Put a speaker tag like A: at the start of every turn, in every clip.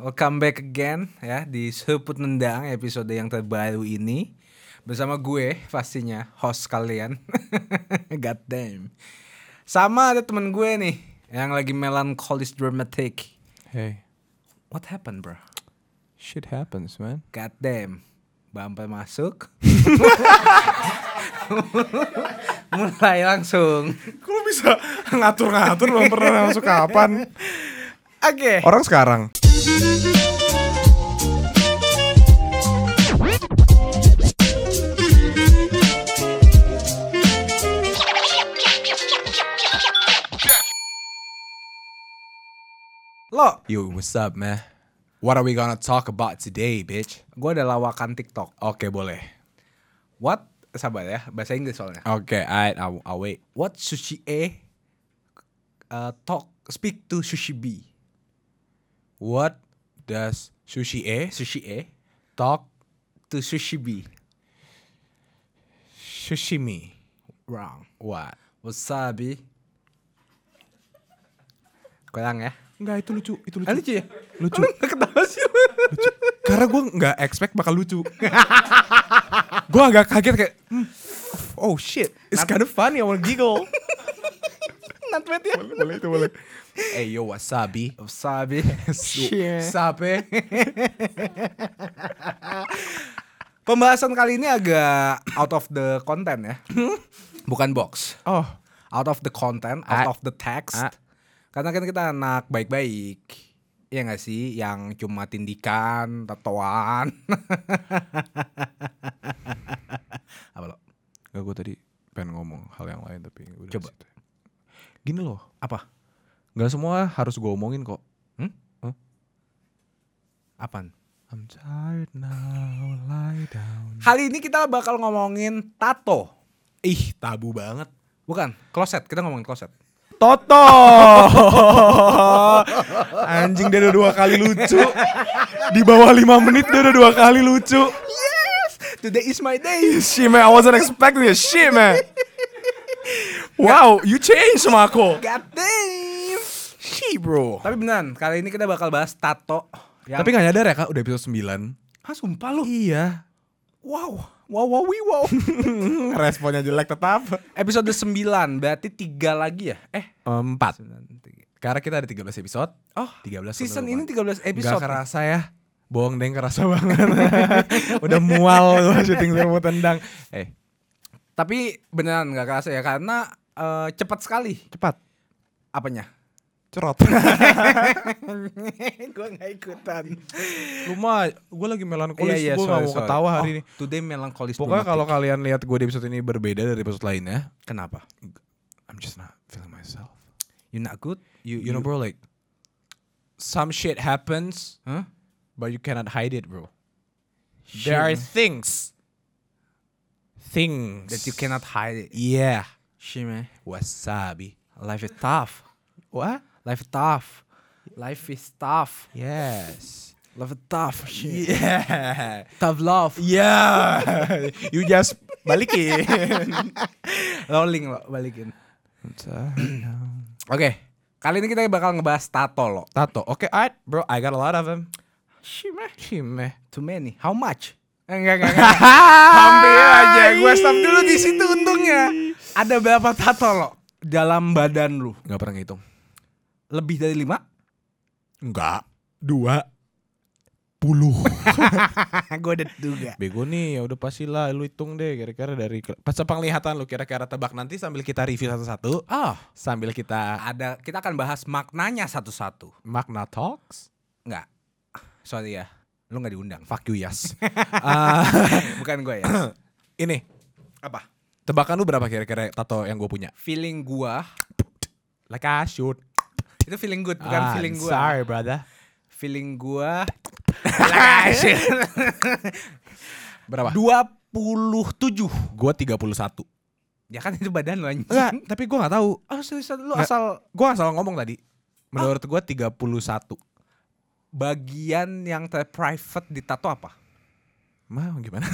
A: welcome back again ya di Seput Nendang episode yang terbaru ini bersama gue pastinya host kalian. God damn. Sama ada temen gue nih yang lagi melankolis dramatic.
B: Hey,
A: What happened, bro?
B: shit happens, man.
A: God damn. Bumper masuk. Mulai langsung.
B: Kok lu bisa ngatur-ngatur belum pernah masuk kapan?
A: Oke.
B: Orang sekarang.
A: Lo,
B: Yo, what's up, man? What are we gonna talk about today, bitch?
A: gue ada lawakan TikTok.
B: Oke, boleh.
A: What? Sabar ya, bahasa Inggris soalnya.
B: Oke, alright, I'll, I'll wait.
A: What sushi A uh, talk speak to sushi B.
B: What does sushi A
A: Sushi A
B: talk
A: to sushi B.
B: sushi me?
A: Wrong.
B: What?
A: Wasabi. Kurang ya.
B: Enggak, itu lucu, itu
A: Ah, lucu ya?
B: Lucu.
A: Lu nggak ketawa sih lu?
B: Karena gue nggak expect bakal lucu. gue agak kaget kayak, hmm, oh shit, it's kind of funny, I wanna giggle.
A: Not bad ya.
B: boleh itu boleh. Hey yo wasabi.
A: Wasabi. ya?
B: Sape.
A: Pembahasan kali ini agak out of the content ya. Bukan box.
B: Oh,
A: Out of the content, out
B: Ah.
A: of the text.
B: Ah.
A: Karena kan kita anak baik-baik. Iya gak sih? Yang cuma tindikan, tatoan. Apa lo?
B: enggak gue tadi pengen ngomong hal yang lain tapi udah
A: Coba.
B: ke situ. Gini loh,
A: Apa?
B: nggak semua harus gue omongin kok.
A: Apaan?
B: I'm tired now, lie down.
A: Kali ini kita bakal ngomongin tato.
B: Ih, tabu banget.
A: Bukan, kloset. Kita ngomongin kloset.
B: Toto. Anjing dia udah dua kali lucu. Di bawah lima menit dia udah dua kali lucu.
A: Yes! Today is my day.
B: Shit man, I wasn't expecting this shit man. Wow, you changed Mako.
A: God damn.
B: Shit bro.
A: Tapi beneran, kali ini kita bakal bahas tato. Yang...
B: Tapi gak nyadar ya kak udah episode 9
A: ah, sumpah lu.
B: Iya
A: Wow. Wow, wow, wee, wow.
B: Responnya jelek tetap
A: Episode 9, berarti 3 lagi ya? Eh,
B: Empat
A: 9, tiga.
B: Karena kita ada 13 episode
A: Oh,
B: 13
A: season
B: episode
A: ini 13
B: Gak
A: episode.
B: kerasa ya Bohong deng kerasa banget Udah mual gua syuting serbu tendang Eh
A: Tapi beneran gak kerasa ya, karena eh, cepat sekali.
B: cepat
A: Apanya?
B: Cerot
A: gue gak ikutan.
B: Lu mah gue lagi melankolis
A: Iya, iya,
B: Gue
A: sorry,
B: gak mau
A: sorry.
B: ketawa hari
A: Oh,
B: ini
A: Today melankolis
B: Pokoknya
A: dramatic.
B: kalau kalian lihat gue di episode ini berbeda dari episode lainnya
A: Kenapa?
B: I'm just not feeling myself
A: You not good? You,
B: You know bro like Some shit happens
A: Huh?
B: But you cannot hide it, bro.
A: Shit,
B: There are
A: man.
B: things. Things.
A: That you cannot hide it.
B: Yeah.
A: Shit, man.
B: Wasabi.
A: Life is tough.
B: What?
A: Life is tough. Life is tough.
B: Yes.
A: Life is tough. Shit.
B: Yeah.
A: Tough love.
B: Yeah. you just balikin.
A: Rolling lo balikin. Oke, kali ini kita bakal ngebahas tato lo.
B: Tato. Okay, alright, bro. I got a lot of them.
A: Shit, man.
B: Chime.
A: Too many. How much? Eh, Enggak, enggak, enggak. Hampir aja. Gue stop dulu di situ untungnya. Ada berapa tato lo dalam badan lu?
B: Gak pernah ngitung.
A: Lebih dari lima?
B: Enggak. Dua. Puluh.
A: gue udah duga.
B: Bego nih, ya udah pastilah lu hitung deh kira-kira dari pas penglihatan lu kira-kira tebak nanti sambil kita review satu-satu,
A: Oh,
B: sambil kita
A: ada kita akan bahas maknanya satu-satu.
B: Magna Talks.
A: Enggak. Sorry ya. Lu nggak diundang.
B: Fuck you, yes. Ah,
A: Bukan gue ya.
B: ini,
A: Apa?
B: tebakan lu berapa kira-kira tato yang gue punya?
A: Feeling gua
B: Like I should.
A: itu feeling good bukan
B: Ah,
A: feeling gua.
B: Sorry, brother.
A: Feeling gua
B: Berapa?
A: 27.
B: Gue 31.
A: Ya kan itu badan lu anjing.
B: Enggak, tapi gue gak tahu.
A: Oh, seriusan lu
B: Nggak.
A: asal
B: Gue asal ngomong tadi. Menurut gue 31.
A: bagian yang terprivate di tato apa?
B: Mau gimana?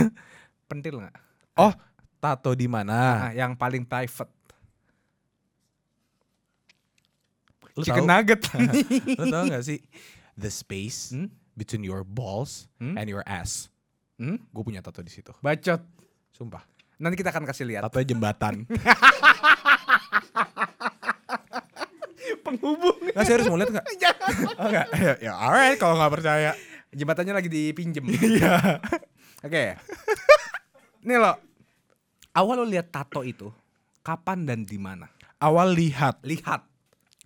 A: Pentil nggak?
B: Oh, tato di mana?
A: Nah, yang paling private.
B: Lu
A: Chicken
B: tahu?
A: nugget.
B: Lu tau gak sih? the space
A: Hmm?
B: between your balls
A: Hmm?
B: and your ass.
A: Hmm?
B: Gue punya tato di situ.
A: Bacot.
B: Sumpah.
A: Nanti kita akan kasih lihat.
B: Tato jembatan.
A: Penghubung.
B: Nah, serius mau lihat nggak? Oh, nggak? Ya, ya, alright kalau nggak percaya.
A: Jembatannya lagi dipinjem.
B: Iya.
A: Oke. Nih lo. Awal lo lihat tato itu kapan dan di mana?
B: Awal lihat.
A: Lihat.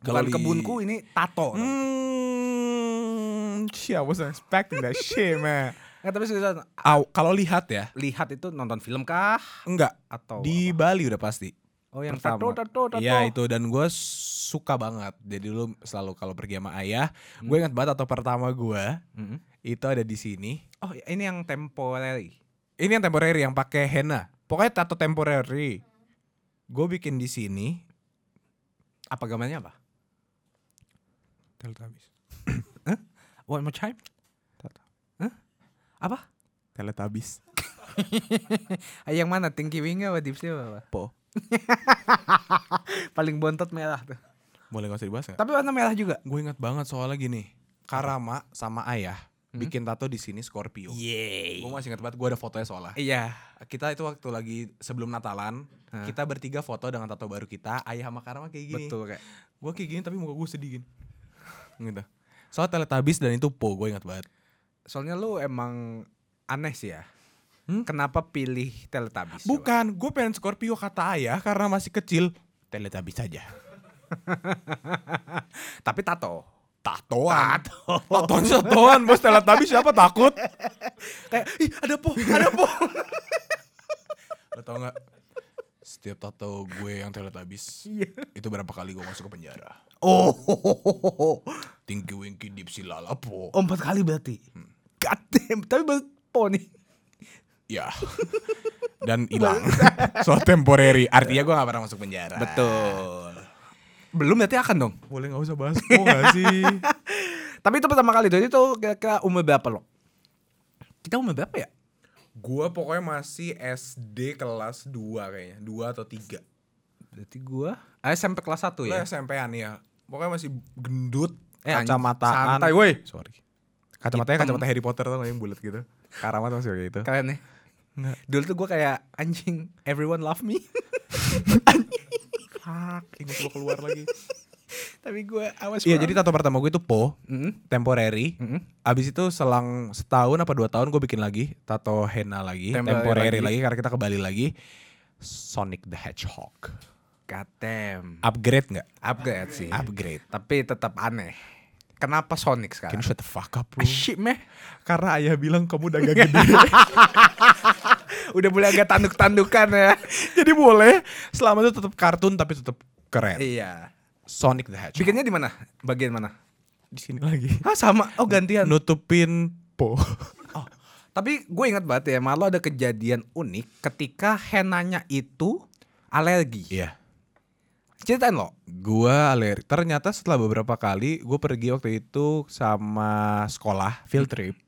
B: Kalau
A: Bukan
B: di-
A: kebunku ini tato. Nggak,
B: Hmm, shit, I wasn't expecting that shit, man.
A: tapi seriusan,
B: Aw, kalau lihat ya,
A: lihat itu nonton film kah
B: enggak.
A: atau
B: Di Bali udah pasti.
A: apa? Oh yang
B: pertama.
A: tato tato tato.
B: Iya itu dan gue suka banget. Jadi dulu selalu kalau pergi sama ayah, gue ingat banget atau pertama gue
A: Mm-mm.
B: itu ada di sini.
A: Oh ini yang temporary.
B: Ini yang temporary yang pakai henna. Pokoknya tato temporary. Gue bikin di sini.
A: Apa gambarnya apa?
B: Teletubbies.
A: One more time.
B: Tato.
A: Apa?
B: Teletubbies.
A: Eh, yang mana? Tinggi wingnya apa dipsnya apa?
B: Po.
A: Paling bontot merah tuh.
B: Boleh gak usah dibahas nggak?
A: Tapi warna merah juga.
B: Gue ingat banget soalnya gini. Karama sama ayah bikin tato di sini Scorpio.
A: Yeay.
B: Gue masih ingat banget. Gue ada fotonya soalnya.
A: Iya.
B: Kita itu waktu lagi sebelum Natalan, kita bertiga foto dengan tato baru kita. Ayah sama Karama kayak gini.
A: Betul kayak.
B: Gue kayak gini tapi muka gue sedih gini. Gitu. Soal Teletubbies dan itu Po, gue ingat banget.
A: Soalnya lu emang aneh sih ya. Kenapa pilih Teletubbies? coba?
B: Bukan, gue pengen Scorpio kata ayah karena masih kecil. Teletubbies saja.
A: Tapi tato.
B: Tatoan. Tato. Tatoan tatoan, bos Teletubbies siapa takut?
A: Kayak, ih ada po, ada po.
B: Lo tau gak? Setiap tato gue yang Teletubbies,
A: Iya.
B: itu berapa kali gue masuk ke penjara.
A: oh,
B: Tinky Winky Dipsy Lala Po.
A: empat kali berarti. God damn. Tapi baru po nih.
B: Ya. Dan hilang. Soal temporary, artinya gue gak pernah masuk penjara.
A: Betul. Belum berarti akan dong.
B: Boleh gak usah bahas Po gak sih?
A: Tapi itu pertama kali. Jadi itu kira-kira umur berapa lo? Kita umur berapa ya?
B: Gua pokoknya masih SD kelas 2 kayaknya, 2 atau 3.
A: Berarti gua ah, SMP kelas 1
B: Lu
A: ya.
B: SMP-an ya. Pokoknya masih gendut, Gitu.
A: Eh, anjing,
B: kacamataan.
A: santai, woi.
B: Sorry. Kacamatanya
A: Hitam.
B: kacamata Harry Potter tuh yang bulat gitu. Karamat masih kayak gitu.
A: Keren ya.
B: Nggak.
A: Dulu tuh gua kayak anjing everyone love me.
B: Fuck, ingus gua keluar lagi.
A: Tapi gua awas.
B: Iya, jadi tato pertama gue itu po,
A: Mm-mm.
B: temporary.
A: Mm-mm.
B: Abis itu selang setahun apa dua tahun gue bikin lagi tato henna lagi,
A: Temporary
B: temporary,
A: lagi.
B: lagi. karena kita ke Bali lagi. Sonic the Hedgehog.
A: God damn.
B: Upgrade nggak?
A: Upgrade sih.
B: Upgrade.
A: Tapi tetap aneh. Kenapa Sonic
B: Can
A: sekarang?
B: you shut the fuck up, bro?
A: Ah, Shit meh.
B: Karena ayah bilang kamu udah gak gede
A: Udah boleh agak tanduk-tandukan ya.
B: Jadi boleh Selama itu tetap kartun tapi tetap keren
A: iya.
B: Sonic the Hedgehog
A: Bikinnya di mana? Bagian mana?
B: di sini lagi
A: Ah sama. Oh gantian.
B: Nutupin Po
A: Oh, tapi gue ingat banget ya, malah ada kejadian unik ketika henanya itu alergi.
B: Iya
A: Ceritain lo.
B: Gua alergi Ternyata setelah beberapa kali Gue pergi waktu itu sama sekolah Field trip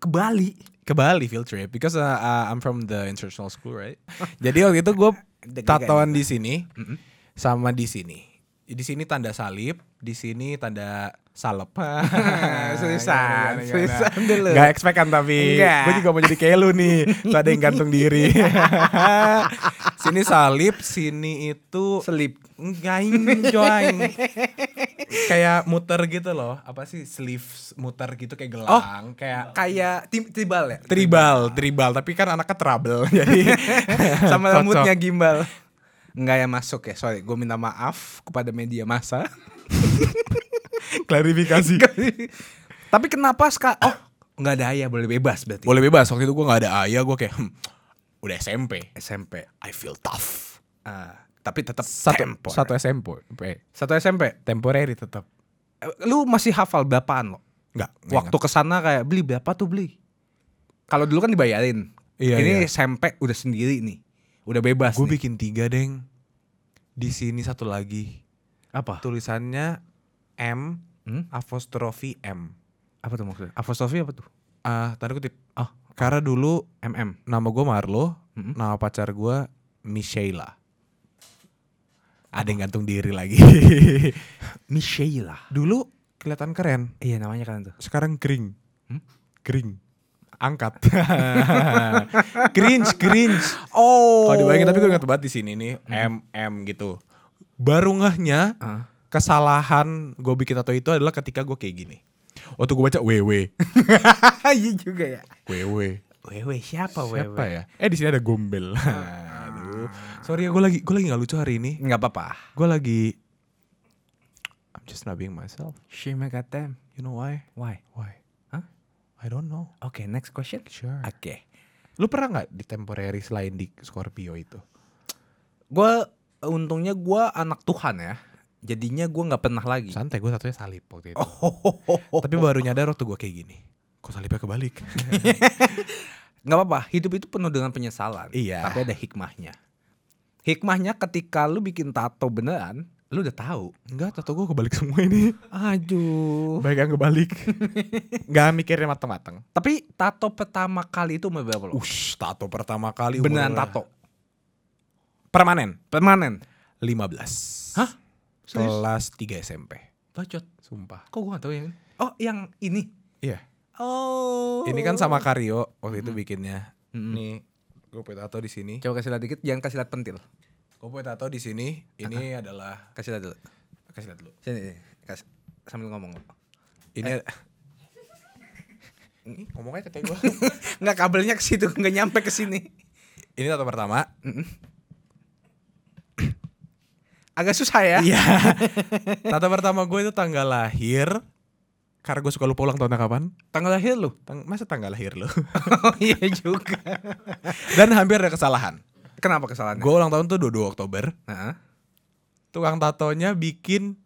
A: Ke Bali.
B: Ke Bali field trip Because uh, uh, I'm from the international school right Jadi waktu itu gue tatoan di sini Sama di sini di sini tanda salib, di sini tanda salep.
A: Seriusan,
B: Gimana, gimana, gimana?
A: seriusan dulu.
B: Gak expect kan tapi
A: Enggak.
B: Gue juga mau jadi kayak lu nih Tuh ada yang gantung diri Sini salib Sini itu
A: Selip.
B: Ngain join Kayak muter gitu loh Apa sih sleeve muter gitu kayak gelang Kayak
A: Kayak tim- tribal ya?
B: Tribal, tribal, tapi kan anaknya trouble jadi
A: Sama
B: cocok.
A: rambutnya gimbal. Enggak yang masuk ya, sorry. Gue minta maaf kepada media massa.
B: klarifikasi.
A: tapi kenapa sekarang? Oh, nggak ada ayah boleh bebas berarti.
B: Boleh bebas waktu itu gue nggak ada ayah gue kayak "Hmm, udah SMP,
A: SMP.
B: I feel tough.
A: Ah, tapi tetap
B: Satu
A: tempor.
B: satu SMP, eh,
A: Satu SMP.
B: temporary tetap.
A: Eh, Lu masih hafal berapaan lo?
B: Nggak, nggak
A: waktu kesana kayak beli berapa tuh beli kalau dulu kan dibayarin
B: Iya,
A: ini
B: iya.
A: sampai udah sendiri nih udah bebas
B: Gue
A: nih.
B: bikin tiga deng. Di sini satu lagi.
A: apa
B: Tulisannya M
A: Hmm?
B: apostrofi M.
A: apa tuh maksudnya apostrofi apa tuh
B: Ah, tanda kutip. Oh, karena dulu
A: mm
B: nama gue Marlo,
A: Mm-mm.
B: nama pacar gue Michaela. Ada yang gantung diri lagi.
A: Michela
B: dulu kelihatan keren.
A: Iya namanya kan tuh.
B: Sekarang kering. Kering. Angkat. cringe, cringe.
A: Oh.
B: Kalau dibayangin tapi gue inget banget di sini nih M M gitu. Baru ngehnya
A: Ah.
B: kesalahan gue bikin tato itu adalah ketika gue kayak gini. Waktu gue baca WW,
A: Iya juga ya.
B: WW.
A: Wewe siapa
B: Siapa ya? Eh di sini ada gombel. Aduh. Sorry ya gue lagi gue lagi nggak lucu hari ini.
A: Enggak apa-apa.
B: Gue lagi I'm just not being myself.
A: Shame I got them.
B: You know why?
A: Why?
B: Why?
A: Hah?
B: I don't know.
A: Oke, next question.
B: Sure.
A: Oke.
B: Lu pernah nggak di temporary selain di Scorpio itu?
A: Gue untungnya gue anak Tuhan ya. Jadinya gue nggak pernah lagi.
B: Santai gue satunya salib waktu itu.
A: Oh,
B: Tapi baru nyadar waktu gue kayak gini. Kok salibnya kebalik?
A: nggak apa-apa. Hidup itu penuh dengan penyesalan.
B: Iya.
A: Tapi ada hikmahnya. Hikmahnya ketika lu bikin tato beneran, lu udah tahu.
B: Enggak, tato gue kebalik semua ini.
A: Aduh.
B: Baik yang kebalik. Enggak mikirnya mateng-mateng.
A: Tapi tato pertama kali itu umur berapa lo?
B: Ush, tato pertama kali. umur-
A: Uh, Beneran tato.
B: Permanen.
A: Permanen.
B: 15.
A: Hah? Serius?
B: Kelas 3 SMP.
A: Bacot.
B: Sumpah.
A: Kok gue gak tau yang ini? Oh yang ini.
B: Iya.
A: Oh.
B: Ini kan sama Karyo waktu itu bikinnya.
A: Mm-mm.
B: Nih, gue punya tato di sini.
A: Coba kasih lihat dikit, jangan kasih lihat pentil.
B: Gue punya tato di sini. Ini adalah
A: Kasih lihat dulu.
B: kasih lihat dulu.
A: Sini, sini. Kasih. sambil ngomong.
B: Ini Ih, ngomong aja kayak gue.
A: Nggak kabelnya ke situ, nggak nyampe ke sini.
B: ini tato pertama.
A: Agak susah ya.
B: Iya. tato pertama gue itu tanggal lahir. Karena gue suka lupa ulang tahunnya kapan.
A: Tanggal lahir lu.
B: Tang- masa tanggal lahir lo?
A: Oh iya juga.
B: Dan hampir ada kesalahan.
A: Kenapa kesalahannya?
B: Gue ulang tahun tuh 22 Oktober.
A: Heeh.
B: Tukang tatonya bikin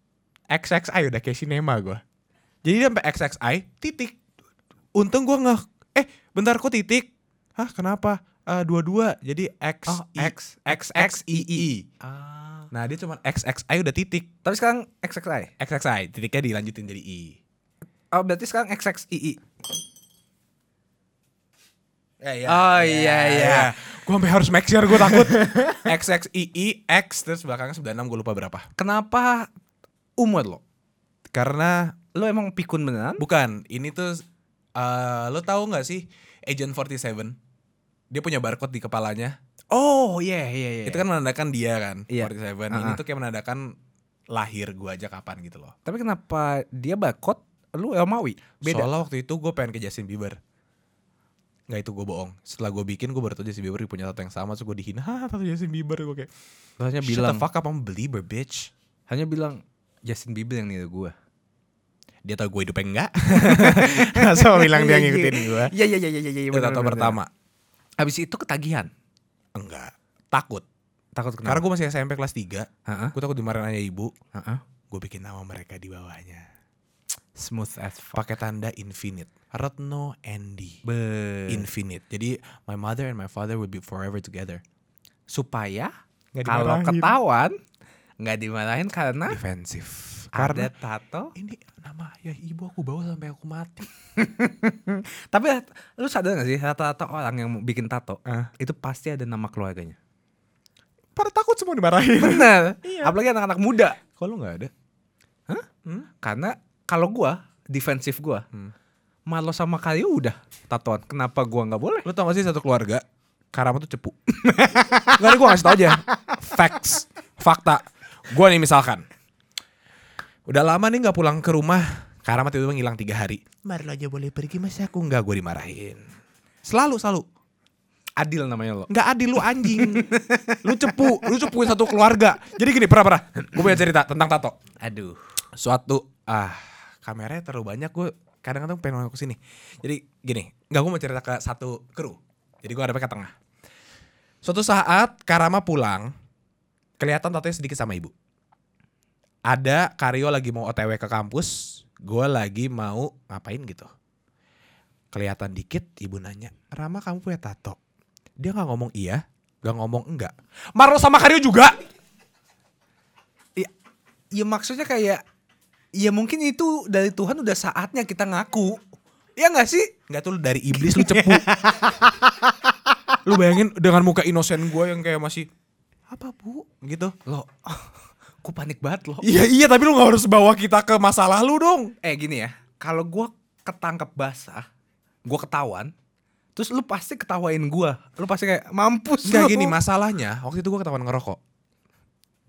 B: XXI udah kayak sinema gue. Jadi dia sampai XXI titik. Untung gue nggak eh bentar kok titik. Hah kenapa? Eh, dua-dua jadi X
A: Oh,
B: I-
A: X.
B: X X I I.
A: Ah.
B: Nah dia cuma XXI udah titik.
A: Tapi sekarang XXI.
B: XXI titiknya dilanjutin jadi I.
A: Oh berarti sekarang XXII.
B: Ya, ya,
A: Oh, iya, iya.
B: Gue sampai harus make sure gue takut. XXII X terus belakangnya 96 gue lupa berapa.
A: Kenapa umur lo?
B: Karena
A: Lo emang pikun beneran?
B: bukan ini tuh eh, lo tahu nggak sih Agent 47? Dia punya barcode di kepalanya.
A: Oh iya iya iya.
B: Itu kan menandakan dia kan.
A: Iya.
B: 47. Ini
A: Ah-ah.
B: tuh kayak menandakan lahir gue aja kapan gitu loh.
A: Tapi kenapa dia bakot, lu Elmawi? Beda.
B: Soalnya waktu itu gue pengen ke Justin Bieber. Nggak itu gue bohong. Setelah gue bikin gue baru tau Justin Bieber punya tato yang sama. Terus gue dihina. Hah tato Justin Bieber. Gue kayak
A: Hanya
B: shut the fuck up I'm a believer bitch.
A: hanya bilang Justin Bieber yang niru gua.
B: dia tahu gue hidupnya enggak so Oh, bilang dia ngikutin gue
A: Iya iya iya iya iya.
B: itu
A: bener,
B: tato
A: bener, bener.
B: pertama
A: Habis itu ketagihan.
B: enggak takut
A: Takut
B: karena
A: kenapa?
B: gue masih SMP kelas 3
A: Heeh.
B: gue takut dimarahin aja ibu
A: Heeh.
B: gue bikin nama mereka di bawahnya
A: Smooth as fuck.
B: pakai tanda infinite Retno Andy
A: Be
B: infinite jadi my mother and my father will be forever together
A: supaya
B: Nggak
A: kalau
B: dimarahin.
A: ketahuan nggak dimarahin karena
B: defensif
A: ada
B: karena
A: tato.
B: ini nama ya ibu aku bawa sampai aku mati
A: Tapi lu sadar gak sih rata-rata orang yang bikin tato eh,
B: Ah.
A: itu pasti ada nama keluarganya.
B: pada takut semua dimarahin
A: Benar. Apalagi anak-anak muda.
B: kalau nggak ada
A: Karena kalau gua defensif gua. Malo sama kayu udah tatoan. Kenapa gua nggak boleh?
B: Lu tau gak sih satu keluarga Karama tuh cepu Gak ada gue ngasih tau aja Facts Fakta Gue nih misalkan Udah lama nih gak pulang ke rumah Karama tiba-tiba ngilang tiga hari Marlo aja boleh pergi masa aku gak gue dimarahin Selalu selalu
A: Adil namanya lo.
B: Gak adil lu anjing Lu cepu Lu cepuin satu keluarga Jadi gini pernah pernah Gue punya cerita tentang tato
A: Aduh.
B: Suatu Ah Kameranya terlalu banyak gue Kadang-kadang pengen nengok ke sini Jadi gini Gak gue mau cerita ke satu kru Jadi gue ngadepnya ke tengah Suatu saat Karama pulang, kelihatan tatonya sedikit sama ibu. Ada Karyo lagi mau OTW ke kampus, gue lagi mau ngapain gitu. Kelihatan dikit, ibu nanya, Rama kamu punya tato? Dia nggak ngomong iya, nggak ngomong enggak. Marlo sama Karyo juga.
A: Ya, ya maksudnya kayak ya mungkin itu dari Tuhan udah saatnya kita ngaku. Ya nggak sih?
B: Enggak tuh lu dari iblis lu cepu. lu bayangin dengan muka inosen gue yang kayak masih apa bu gitu.
A: Lo Aku panik banget loh.
B: Iya iya tapi lu nggak harus bawa kita ke masa lalu dong.
A: Eh gini ya, kalau gua ketangkep basah, gua ketahuan, terus lu pasti ketawain gua. Lu pasti kayak mampus lu."
B: Enggak gini masalahnya waktu itu gue ketahuan ngerokok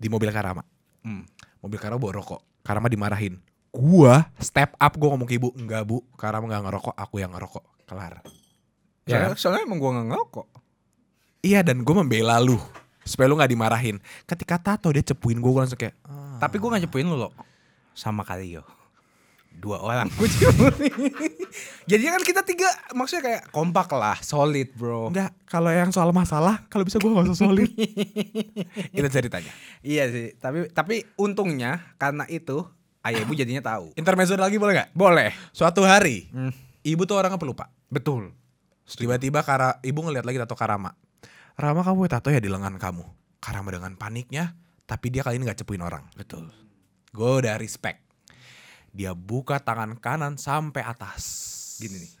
B: di mobil Karama.
A: Hmm.
B: Mobil Karama bawa rokok. Karama dimarahin. Gua step up gue ngomong ke ibu enggak bu Karama nggak ngerokok aku yang ngerokok kelar. Ya
A: Soalnya, soalnya emang gua gak ngerokok.
B: Iya dan gue membela lu supaya lu nggak dimarahin. Ketika Tato dia cepuin gue, gue langsung kayak "Ah."
A: Tapi gue ngejepuin lu loh Sama kali yo Dua orang gue jepuin Jadi kan kita tiga Maksudnya kayak kompak lah Solid bro
B: enggak kalau yang soal masalah kalau bisa gue nggak usah solid. Itu ceritanya.
A: Iya sih Tapi tapi untungnya Karena itu Ayah ibu jadinya tahu
B: Intermezzo lagi boleh nggak?
A: Boleh
B: Suatu hari
A: Hmm.
B: ibu tuh orangnya pelupa.
A: Betul
B: Tiba-tiba Kara, ibu ngeliat lagi tato Karama. Rama kamu punya tato ya di lengan kamu. Karama dengan paniknya, tapi dia kali ini nggak cepuin orang.
A: Betul
B: Gue udah respect. Dia buka tangan kanan sampai atas.
A: Gini nih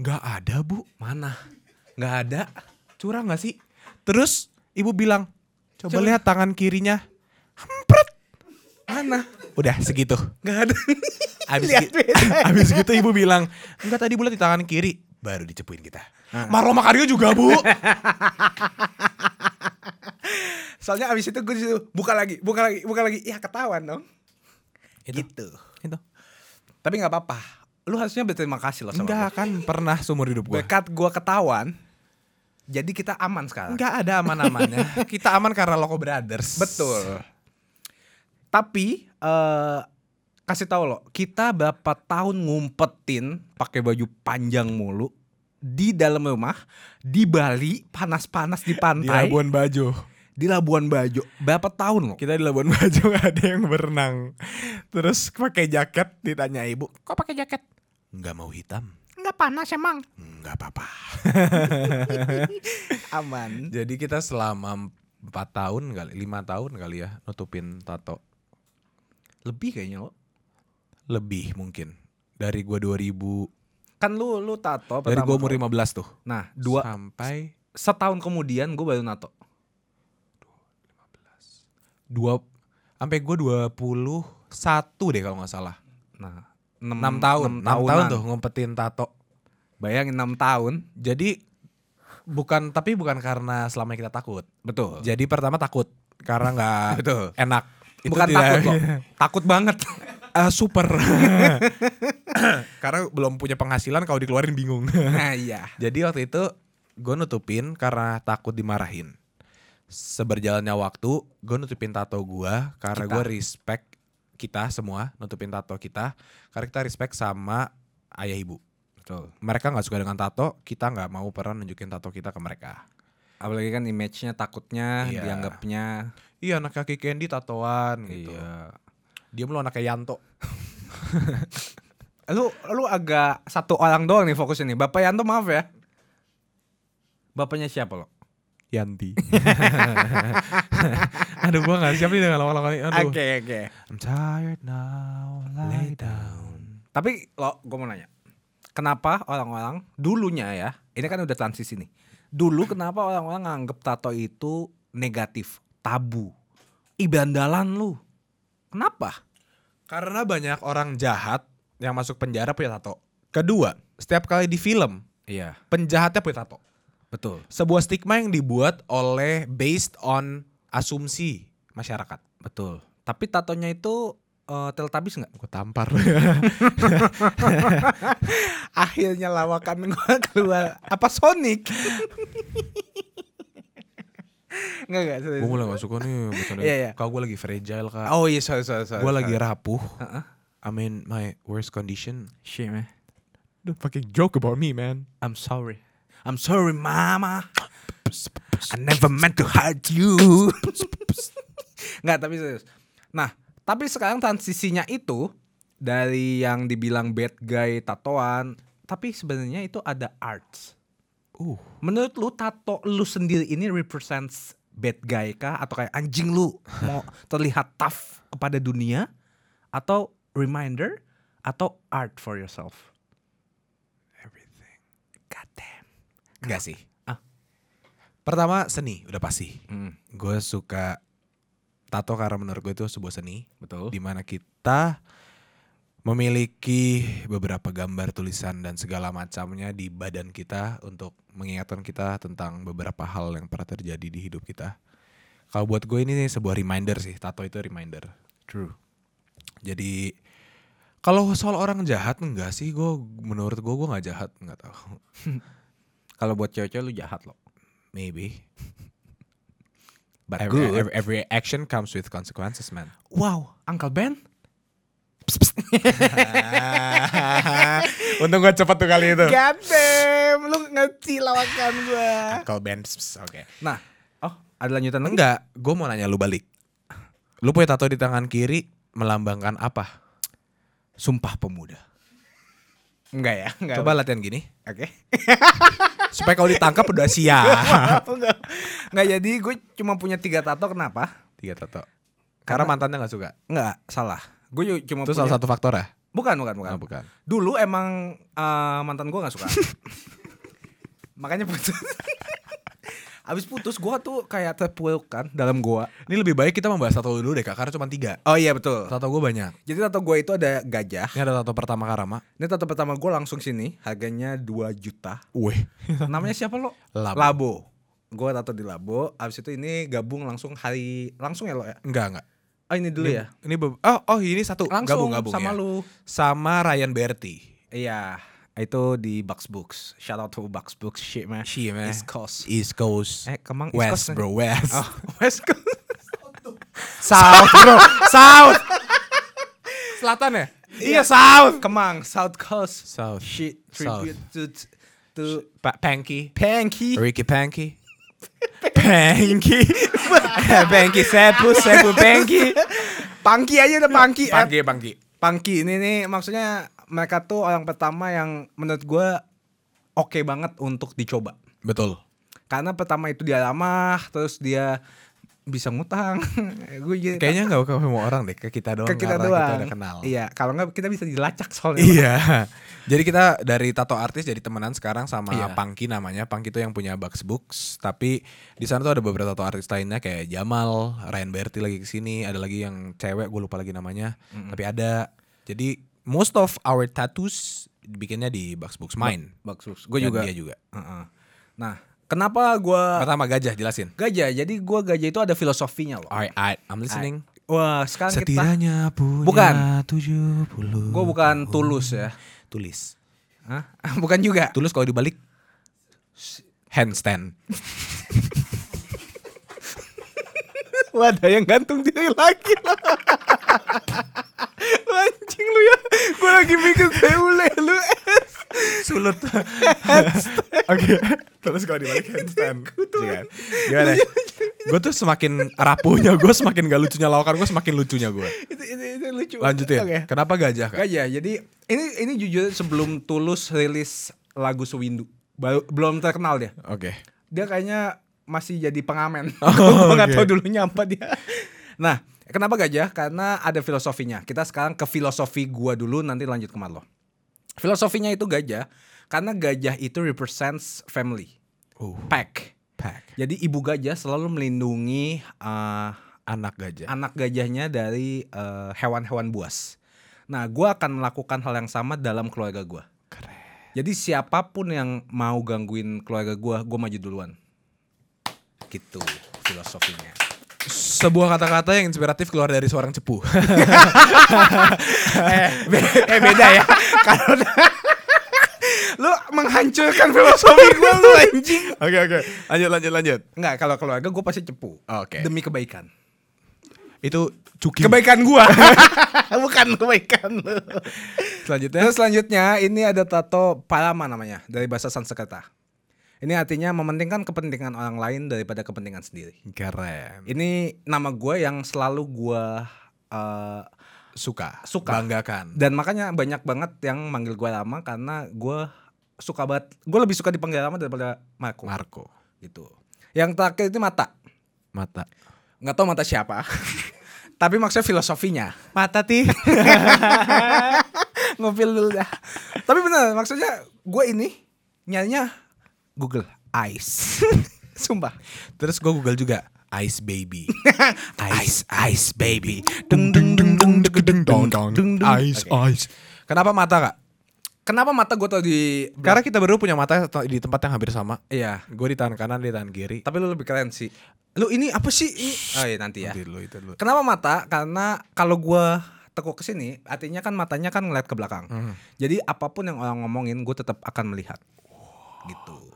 B: Nggak ada bu,
A: Mana Gak ada
B: curang nggak sih? Terus ibu bilang, coba,
A: Coba.
B: lihat tangan kirinya.
A: Mana
B: Udah segitu.
A: Gak ada
B: Abis,
A: Lihat
B: gi- abis gitu ibu bilang, enggak tadi bulat di tangan kiri. Baru dicepuin kita. Marlo Makario juga bu.
A: Soalnya abis itu gue disitu Buka lagi Buka lagi Buka lagi Ya ketahuan dong
B: Itu.
A: Gitu
B: Itu.
A: Tapi gak apa-apa Lu harusnya berterima kasih loh sama gua.
B: Enggak kan pernah seumur hidup gue.
A: Berkat gua ketahuan, jadi kita aman sekarang.
B: Enggak ada aman-amannya. Kita aman karena Loko Brothers.
A: Betul. Tapi eh kasih tahu loh, kita berapa tahun ngumpetin pakai baju panjang mulu di dalam rumah di Bali panas-panas di
B: Di
A: pantai di Labuan,
B: Labuan Bajo.
A: Bajo berapa tahun loh
B: Kita di Labuan Bajo nggak ada yang berenang. Terus pakai jaket ditanya ibu, "Kok pakai jaket?" Nggak mau hitam.
A: nggak panas emang
B: Nggak apa-apa.
A: aman
B: Jadi kita selama 4 tahun kali, 5 tahun kali ya nutupin tato.
A: lebih kayaknya lo
B: Lebih mungkin. Dari gua 2000,
A: kan lu lu tato
B: dari
A: pertama
B: gua umur
A: kali.
B: 15 tuh.
A: nah dua
B: sampai
A: setahun kemudian gue baru nato
B: dua sampai gua 21 deh kalau nggak salah.
A: nah
B: 6 tahun, 6 tahun,
A: tahunan.
B: tuh ngumpetin tato.
A: bayangin 6 tahun
B: Jadi bukan tapi bukan karena selama kita takut.
A: betul
B: Jadi pertama takut karena nggak
A: Betul.
B: enak. Itu
A: Bukan
B: tidak-
A: takut loh, takut banget.
B: Eh, super. karena belum punya penghasilan kalau dikeluarin bingung.
A: nah iya.
B: Jadi waktu itu gue nutupin karena takut dimarahin. Seberjalannya waktu, gue nutupin tato gue karena
A: Kita.
B: gue respect kita semua nutupin tato kita karena kita respect sama ayah ibu.
A: Betul.
B: Mereka nggak suka dengan tato, kita nggak mau pernah nunjukin tato kita ke mereka.
A: Apalagi kan image-nya takutnya
B: Iya.
A: dianggapnya
B: Iya anak kaki Candy tatoan gitu.
A: Iya.
B: Dia lu anak kayak Yanto.
A: Lu lu agak satu orang doang nih fokusnya nih. Bapak Yanto maaf ya. Bapaknya siapa lo?
B: Yanti. aduh gua gak siap nih dengan lawan-lawan ini. Aduh.
A: oke.
B: I'm tired now, lay down.
A: Tapi lo gue mau nanya. Kenapa orang-orang dulunya ya, ini kan udah transisi nih. Dulu kenapa orang-orang nganggep tato itu negatif, tabu. Ibandalan lu. Kenapa?
B: Karena banyak orang jahat yang masuk penjara punya tato. Kedua, setiap kali di film,
A: Iya,
B: penjahatnya punya tato.
A: betul.
B: Sebuah stigma yang dibuat oleh based on asumsi masyarakat.
A: Betul. Tapi tatonya itu eh, Teletubbies nggak?
B: Gue tampar.
A: Akhirnya lawakan gue keluar. Apa Sonic? Enggak enggak.
B: gue mulai gak suka nih. bercanda.
A: Iya, iya.
B: Kak gue lagi fragile kak.
A: Oh iya sorry sorry sorry.
B: gue lagi rapuh.
A: Heeh.
B: I'm in my worst condition.
A: Shit man.
B: Don't fucking joke about me, man.
A: I'm sorry. I'm sorry mama. I never meant to hurt you. Enggak tapi serius. Nah tapi sekarang transisinya itu dari yang dibilang bad guy tatoan, tapi sebenarnya itu ada arts.
B: Uh,
A: Menurut lu tato lu sendiri ini represents bad guy kah atau kayak anjing lu mau terlihat tough kepada dunia atau reminder atau art for yourself?
B: everything.
A: God damn.
B: Enggak sih.
A: Ah. Hmm,
B: Pertama seni udah pasti. Gue suka tato karena menurut gue itu sebuah seni
A: Betul.
B: di mana kita memiliki beberapa gambar tulisan dan segala macamnya di badan kita untuk mengingatkan kita tentang beberapa hal yang pernah terjadi di hidup kita. Kalau buat gue ini sebuah reminder sih, tato itu reminder.
A: True.
B: Jadi kalau soal orang jahat enggak sih gue menurut gue gue nggak jahat nggak tahu
A: Kalau buat cewek-cewek lu jahat loh.
B: maybe but
A: But
B: every,
A: good.
B: every, every action comes with consequences man
A: Wow, Uncle Ben.
B: untung gue cepet tuh kali itu
A: God damn, lu ngeci lawakan gua.
B: kalau band oke
A: Nah, oh, ada lanjutan lagi?
B: Enggak, gue mau nanya lu balik. Lu punya tato di tangan kiri melambangkan apa? Sumpah pemuda.
A: Enggak ya, enggak.
B: Coba latihan gini.
A: Oke.
B: Supaya kalau ditangkap udah siap.
A: Apa enggak? Enggak jadi gue cuma punya tiga tato kenapa?
B: Tiga tato. Karena mantannya gak suka.
A: Enggak, salah. Gue ju- cuma
B: Itu
A: punya
B: salah satu faktor ya?
A: Bukan, bukan, bukan.
B: Oh, bukan.
A: Dulu emang eh, mantan gue nggak suka. Makanya putus. Abis putus gue tuh kayak terpuruk kan dalam gua.
B: Ini lebih baik kita membahas tato dulu deh kak, karena cuma tiga.
A: Oh iya betul.
B: Tato gue banyak.
A: Jadi tato gue itu ada gajah.
B: Ini ada tato pertama Karama.
A: Ini tato pertama gue langsung sini, harganya 2 juta.
B: Weh.
A: Namanya siapa lo?
B: Labo.
A: Labo. Gue tato di Labo. Abis itu ini gabung langsung hari langsung ya lo ya.
B: Enggak, enggak.
A: Oh ini dulu ya.
B: Ini be- oh, oh ini satu
A: Langsung
B: gabung-gabung
A: sama
B: ya.
A: lu.
B: Sama Ryan Berti.
A: Iya. Itu di Bucks Books. Shout out to Bucks Books. Shit man.
B: Shit, man.
A: East Coast.
B: East Coast.
A: Eh, Kemang East
B: West
A: Coast,
B: bro, West.
A: Oh, West Coast.
B: South bro, South. Selatan ya? Iya South.
A: Kemang, South Coast.
B: South.
A: Shit,
B: South.
A: tribute to to
B: Pak Panky.
A: Panky.
B: Ricky Panky. Panky. Panky Sepu, Sepu Panky.
A: Panky aja udah Panky. Eh,
B: Panky, Panky.
A: Panky ini nih maksudnya mereka tuh orang pertama yang menurut gue oke banget untuk dicoba.
B: Betul.
A: Karena pertama itu dia ramah, terus dia bisa ngutang. gue jadi
B: Kayaknya nggak ke semua orang deh, ke kita doang.
A: ke kita
B: karena
A: doang.
B: Kita udah kenal.
A: Iya, kalau nggak kita bisa dilacak soalnya.
B: Iya. Jadi kita dari tato artis jadi temenan sekarang sama
A: Iya.
B: Pangki namanya. Pangki itu yang punya Bucks Books, tapi di sana tuh ada beberapa tato artis lainnya kayak Jamal, Ryan Berti lagi ke sini, ada lagi yang cewek gue lupa lagi namanya. Tapi ada. Jadi most of our tattoos dibikinnya di Bucks Books mine.
A: Bagus. Gue
B: Dan
A: juga.
B: Dia juga.
A: Iya, Heeh. Nah, kenapa gue
B: Pertama gajah kan? jelasin.
A: gajah? Jadi gue gajah itu ada filosofinya loh.
B: Alright, alright, I'm listening.
A: Wah, sekarang kita
B: Setidaknya punya
A: Bukan.
B: 70.
A: Gue bukan
B: Oh.
A: tulus ya.
B: tulis.
A: Hah? Bukan juga.
B: Tulus kalau dibalik handstand.
A: Lu ada yang gantung diri lagi lah. Lu Anjing lu ya. Gue lagi mikir beule lu.
B: sulut. Oke. Terus kalau dibalik handstand. Jangan. Gimana?
A: Iya,
B: gue tuh semakin rapuhnya gue semakin gak lucunya lawakan gue semakin lucunya gue
A: itu, itu, itu lucu.
B: lanjutin
A: Oke.
B: kenapa gajah kak?
A: Gajah. ya, Jadi ini ini jujur sebelum Tulus rilis lagu Sewindu. Baru, belum terkenal dia.
B: oke
A: Dia kayaknya masih jadi pengamen.
B: Oh,
A: gue nggak
B: oke.
A: tahu dulunya apa dia. Nah, kenapa gajah? Karena ada filosofinya. Kita sekarang ke filosofi gua dulu nanti lanjut ke Marlo. Filosofinya itu gajah karena gajah itu represents family.
B: Oh.
A: Pack.
B: pack
A: Jadi ibu gajah selalu melindungi eh,
B: anak gajah
A: anak gajahnya dari eh, hewan-hewan buas. Nah, gua akan melakukan hal yang sama dalam keluarga gua.
B: keren
A: Jadi siapapun yang mau gangguin keluarga gua, gua maju duluan. Gitu filosofinya.
B: sebuah kata-kata yang inspiratif keluar dari seorang cepu
A: eh beda ya. Kalau lu menghancurkan filosofi gue lu anjing.
B: oke oke lanjut lanjut lanjut
A: Enggak, kalau keluarga gue pasti cepu.
B: Oke.
A: Demi kebaikan.
B: itu cuki
A: Kebaikan gua. Bukan kebaikan lu.
B: selanjutnya
A: Terus selanjutnya ini ada tato palama namanya dari bahasa Sanskerta. Ini artinya mementingkan kepentingan orang lain daripada kepentingan sendiri.
B: keren
A: Ini nama gue yang selalu gua eh,
B: suka
A: Suka.
B: banggakan
A: dan makanya banyak banget yang manggil gue lama karena gue suka banget gue lebih suka dipanggil lama daripada Marco
B: Marco
A: gitu yang terakhir itu mata
B: mata
A: nggak tahu mata siapa tapi maksudnya filosofinya
B: mata ti
A: ngopil dulu dah tapi bener maksudnya gue ini nyarinya Google Eyes sumpah
B: terus gue google juga Ice Baby. ice Ice Baby. Dung dung dung dung dung dung dong dong. Ice Ice. Kenapa mata kak?
A: Kenapa mata gue tau di
B: Karena kita berdua punya mata di tempat yang hampir sama.
A: Iya
B: Gue di tangan kanan, dia di tangan kiri.
A: Tapi lu lebih keren sih Lu ini apa sih? Ini- Oh iya nanti ya
B: Nanti dulu, itu dulu.
A: Kenapa mata? Karena kalau gua tekuk ke sini, artinya kan matanya kan ngeliat ke belakang.
B: Hmm.
A: Jadi apapun yang orang ngomongin, gue tetap akan melihat. Gitu.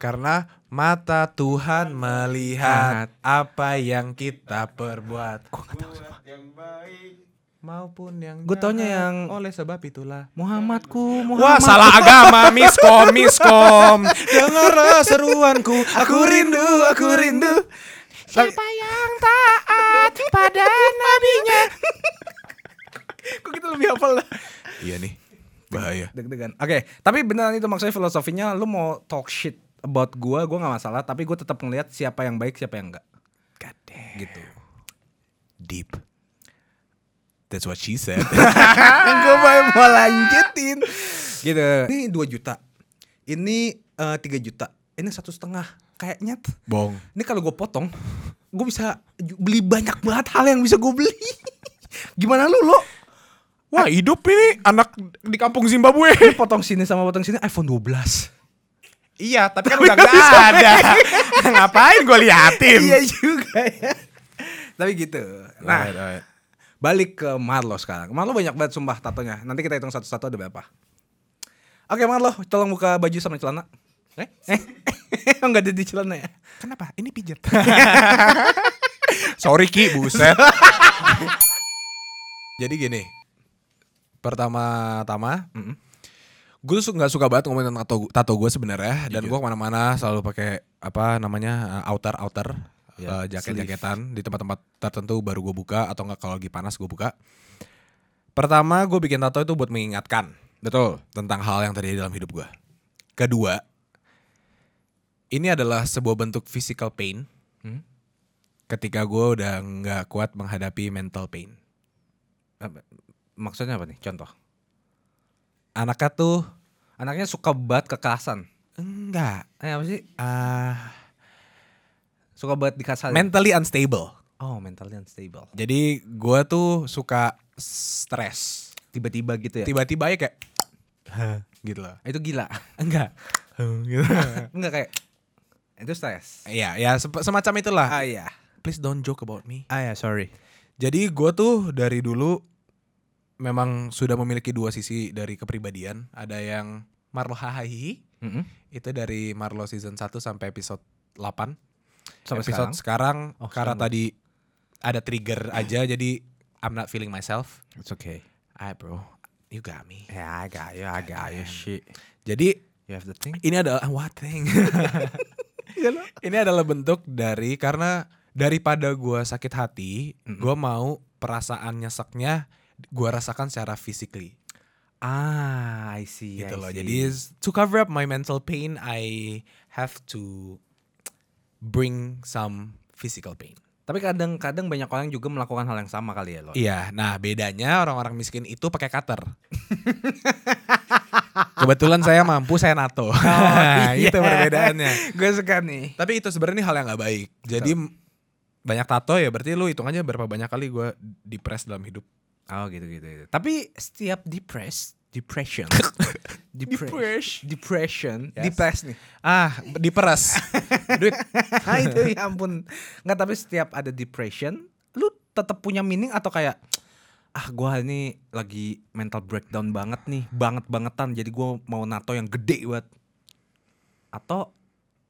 B: Karena mata Tuhan melihat apa yang kita perbuat. Maupun yang
A: Gua taunya
B: jahat.
A: yang-
B: oleh sebab itulah
A: Muhammadku, Muhammad.
B: Wah salah agama miskom miskom Dengarlah seruanku Aku rindu aku rindu Siapa yang taat pada nabinya
A: Kok kita lebih hafal lah.
B: Iya nih bahaya
A: Deg-degan. Oke, tapi beneran itu maksudnya filosofinya lu mau talk shit about gua, gua nggak masalah, tapi gue tetap ngelihat siapa yang baik, siapa yang enggak.
B: God damn.
A: Gitu.
B: Deep That's what she said
A: gue mau lanjutin. Gitu. Ini 2 juta. Ini eh, 3 juta. Ini satu setengah. Kayaknya t-
B: Bong
A: ini kalau gue potong, gue bisa ju- beli banyak banget hal yang bisa gue beli. Gimana lu lo?
B: Wah hidup ini anak di kampung Zimbabwe
A: Lu potong sini sama potong sini iPhone 12.
B: Iya tapi kan
A: Tapi
B: udah
A: nggak
B: gak
A: bisa
B: ada Ngapain gue liatin
A: Iya juga ya. Tapi gitu. Nah,
B: Alright, alright.
A: balik ke Marlo sekarang. Marlo banyak banget sumpah tatonya. Nanti kita hitung satu-satu ada berapa. Oke Marlo, tolong buka baju sama celana. Eh? Eh? Enggak ada di celana ya?
B: Kenapa? Ini pijet. Sorry Ki, buset. Jadi gini. Pertama-tama, gue tuh su- nggak suka banget ngomongin tentang tato, tato gue sebenarnya dan gue kemana-mana selalu pakai apa namanya uh, outer outer
A: Ya,
B: uh, jaket-jaketan di tempat-tempat tertentu baru gue buka atau nggak kalau lagi panas gue buka. Pertama gue bikin tato itu buat mengingatkan
A: Betul.
B: tentang hal yang terjadi dalam hidup gue. Kedua, ini adalah sebuah bentuk physical pain
A: Hmm.
B: ketika gue udah nggak kuat menghadapi mental pain.
A: Apa- Maksudnya apa nih? Contoh.
B: Anaknya tuh
A: Anaknya suka banget kekerasan.
B: enggak,
A: Eh apa sih?
B: ah,
A: Suka banget dikasarin.
B: mentally unstable.
A: oh, mentally unstable.
B: Jadi gue tuh suka stres.
A: Tiba-tiba gitu ya.
B: Tiba-tiba ya kayak "Hah," gitu loh.
A: Itu gila.
B: Enggak. "Huh," gitu.
A: Enggak kayak itu stres.
B: Iya, ya sep- semacam itulah. ya,
A: Ah iya.
B: Please don't joke about me.
A: Ah iya, sorry.
B: Jadi gue tuh dari dulu memang sudah memiliki dua sisi dari kepribadian. Ada yang Marlo Hahahi,
A: Mm-mm.
B: itu dari Marlo season 1 sampai episode 8.
A: Sampai
B: episode
A: sekarang.
B: sekarang,
A: Oh, Eh.
B: karena
A: sekarang.
B: tadi ada trigger aja jadi I'm not feeling myself.
A: It's okay.
B: Ah bro, you got me.
A: Yeah, I got you. I got you. Shit.
B: Jadi
A: You have the thing.
B: ini adalah what thing?
A: Iya,
B: ini adalah bentuk dari karena daripada gua sakit hati, gua mau perasaan nyeseknya gua rasakan secara physically.
A: Ah, I see. I
B: gitu loh.
A: see.
B: Jadi s- to cover up my mental pain, I have to bring some physical pain.
A: tapi kadang-kadang banyak orang juga melakukan hal yang sama kali ya lo.
B: Iya, nah bedanya orang-orang miskin itu pakai cutter. Kebetulan saya mampu, saya nato. Nah, itu
A: iya.
B: perbedaannya.
A: Gue suka nih.
B: Oh, Tapi itu sebenarnya ini hal yang nggak baik. Jadi m- banyak tato ya berarti lu hitung aja berapa banyak kali gua depres dalam hidup.
A: Oh gitu gitu. gitu. Tapi setiap depressed, depression, depressed,
B: Depressed.
A: depression,
B: Yes.
A: depressed nih.
B: Ah, diperes. Duit.
A: Ah itu ya ampun. Nggak tapi setiap ada depression, lu tetap punya meaning atau kayak ah gua ini lagi mental breakdown banget nih, banget bangetan. Jadi gua mau nato yang gede buat atau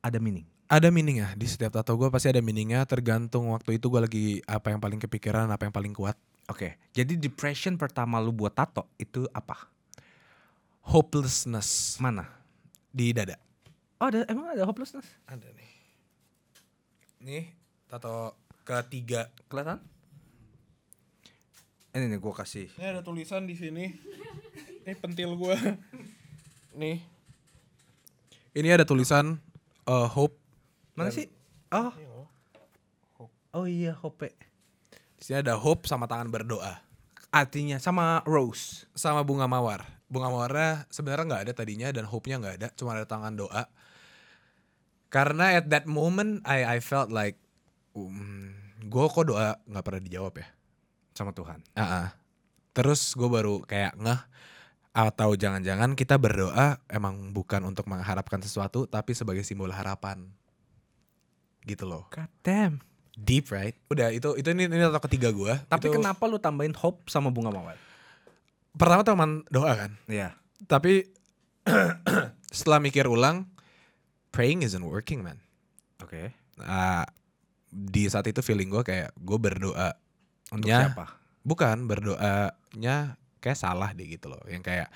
A: ada meaning.
B: ada meaningnya di setiap tato gue pasti ada meaningnya tergantung waktu itu gue lagi apa yang paling kepikiran apa yang paling kuat
A: Oke, jadi depression pertama lu buat tato itu apa?
B: hopelessness
A: Mana?
B: di dada
A: Oh, ada, emang ada hopelessness?
B: ada nih nih tato ketiga
A: Kelihatan? Ini nih gue kasih.
B: ini ada tulisan di sini ini pentil gue nih ini ada tulisan uh, hope
A: Mana sih? Oh. Oh iya, hope.
B: di sini ada hope sama tangan berdoa
A: Artinya sama rose.
B: sama bunga mawar. Bunga mawarnya sebenarnya nggak ada tadinya dan hope-nya nggak ada, cuma ada tangan doa. Karena at that moment I I felt like um, gue kok doa nggak pernah dijawab ya.
A: sama Tuhan.
B: Ah, ah. Terus gue baru kayak ngeh atau jangan-jangan kita berdoa emang bukan untuk mengharapkan sesuatu tapi sebagai simbol harapan. Gitu loh.
A: God damn.
B: Deep right? Udah itu itu ini, ini atau ketiga gue.
A: Tapi
B: Itu-
A: kenapa lu tambahin hope sama bunga mawar?
B: Pertama teman doa kan.
A: Iya.
B: Tapi setelah mikir ulang, praying isn't working man.
A: Oke.
B: Ah, di saat itu feeling gue kayak gue berdoa
A: Untuk
B: Nya-
A: siapa?
B: bukan berdoanya kayak salah deh gitu loh yang kayak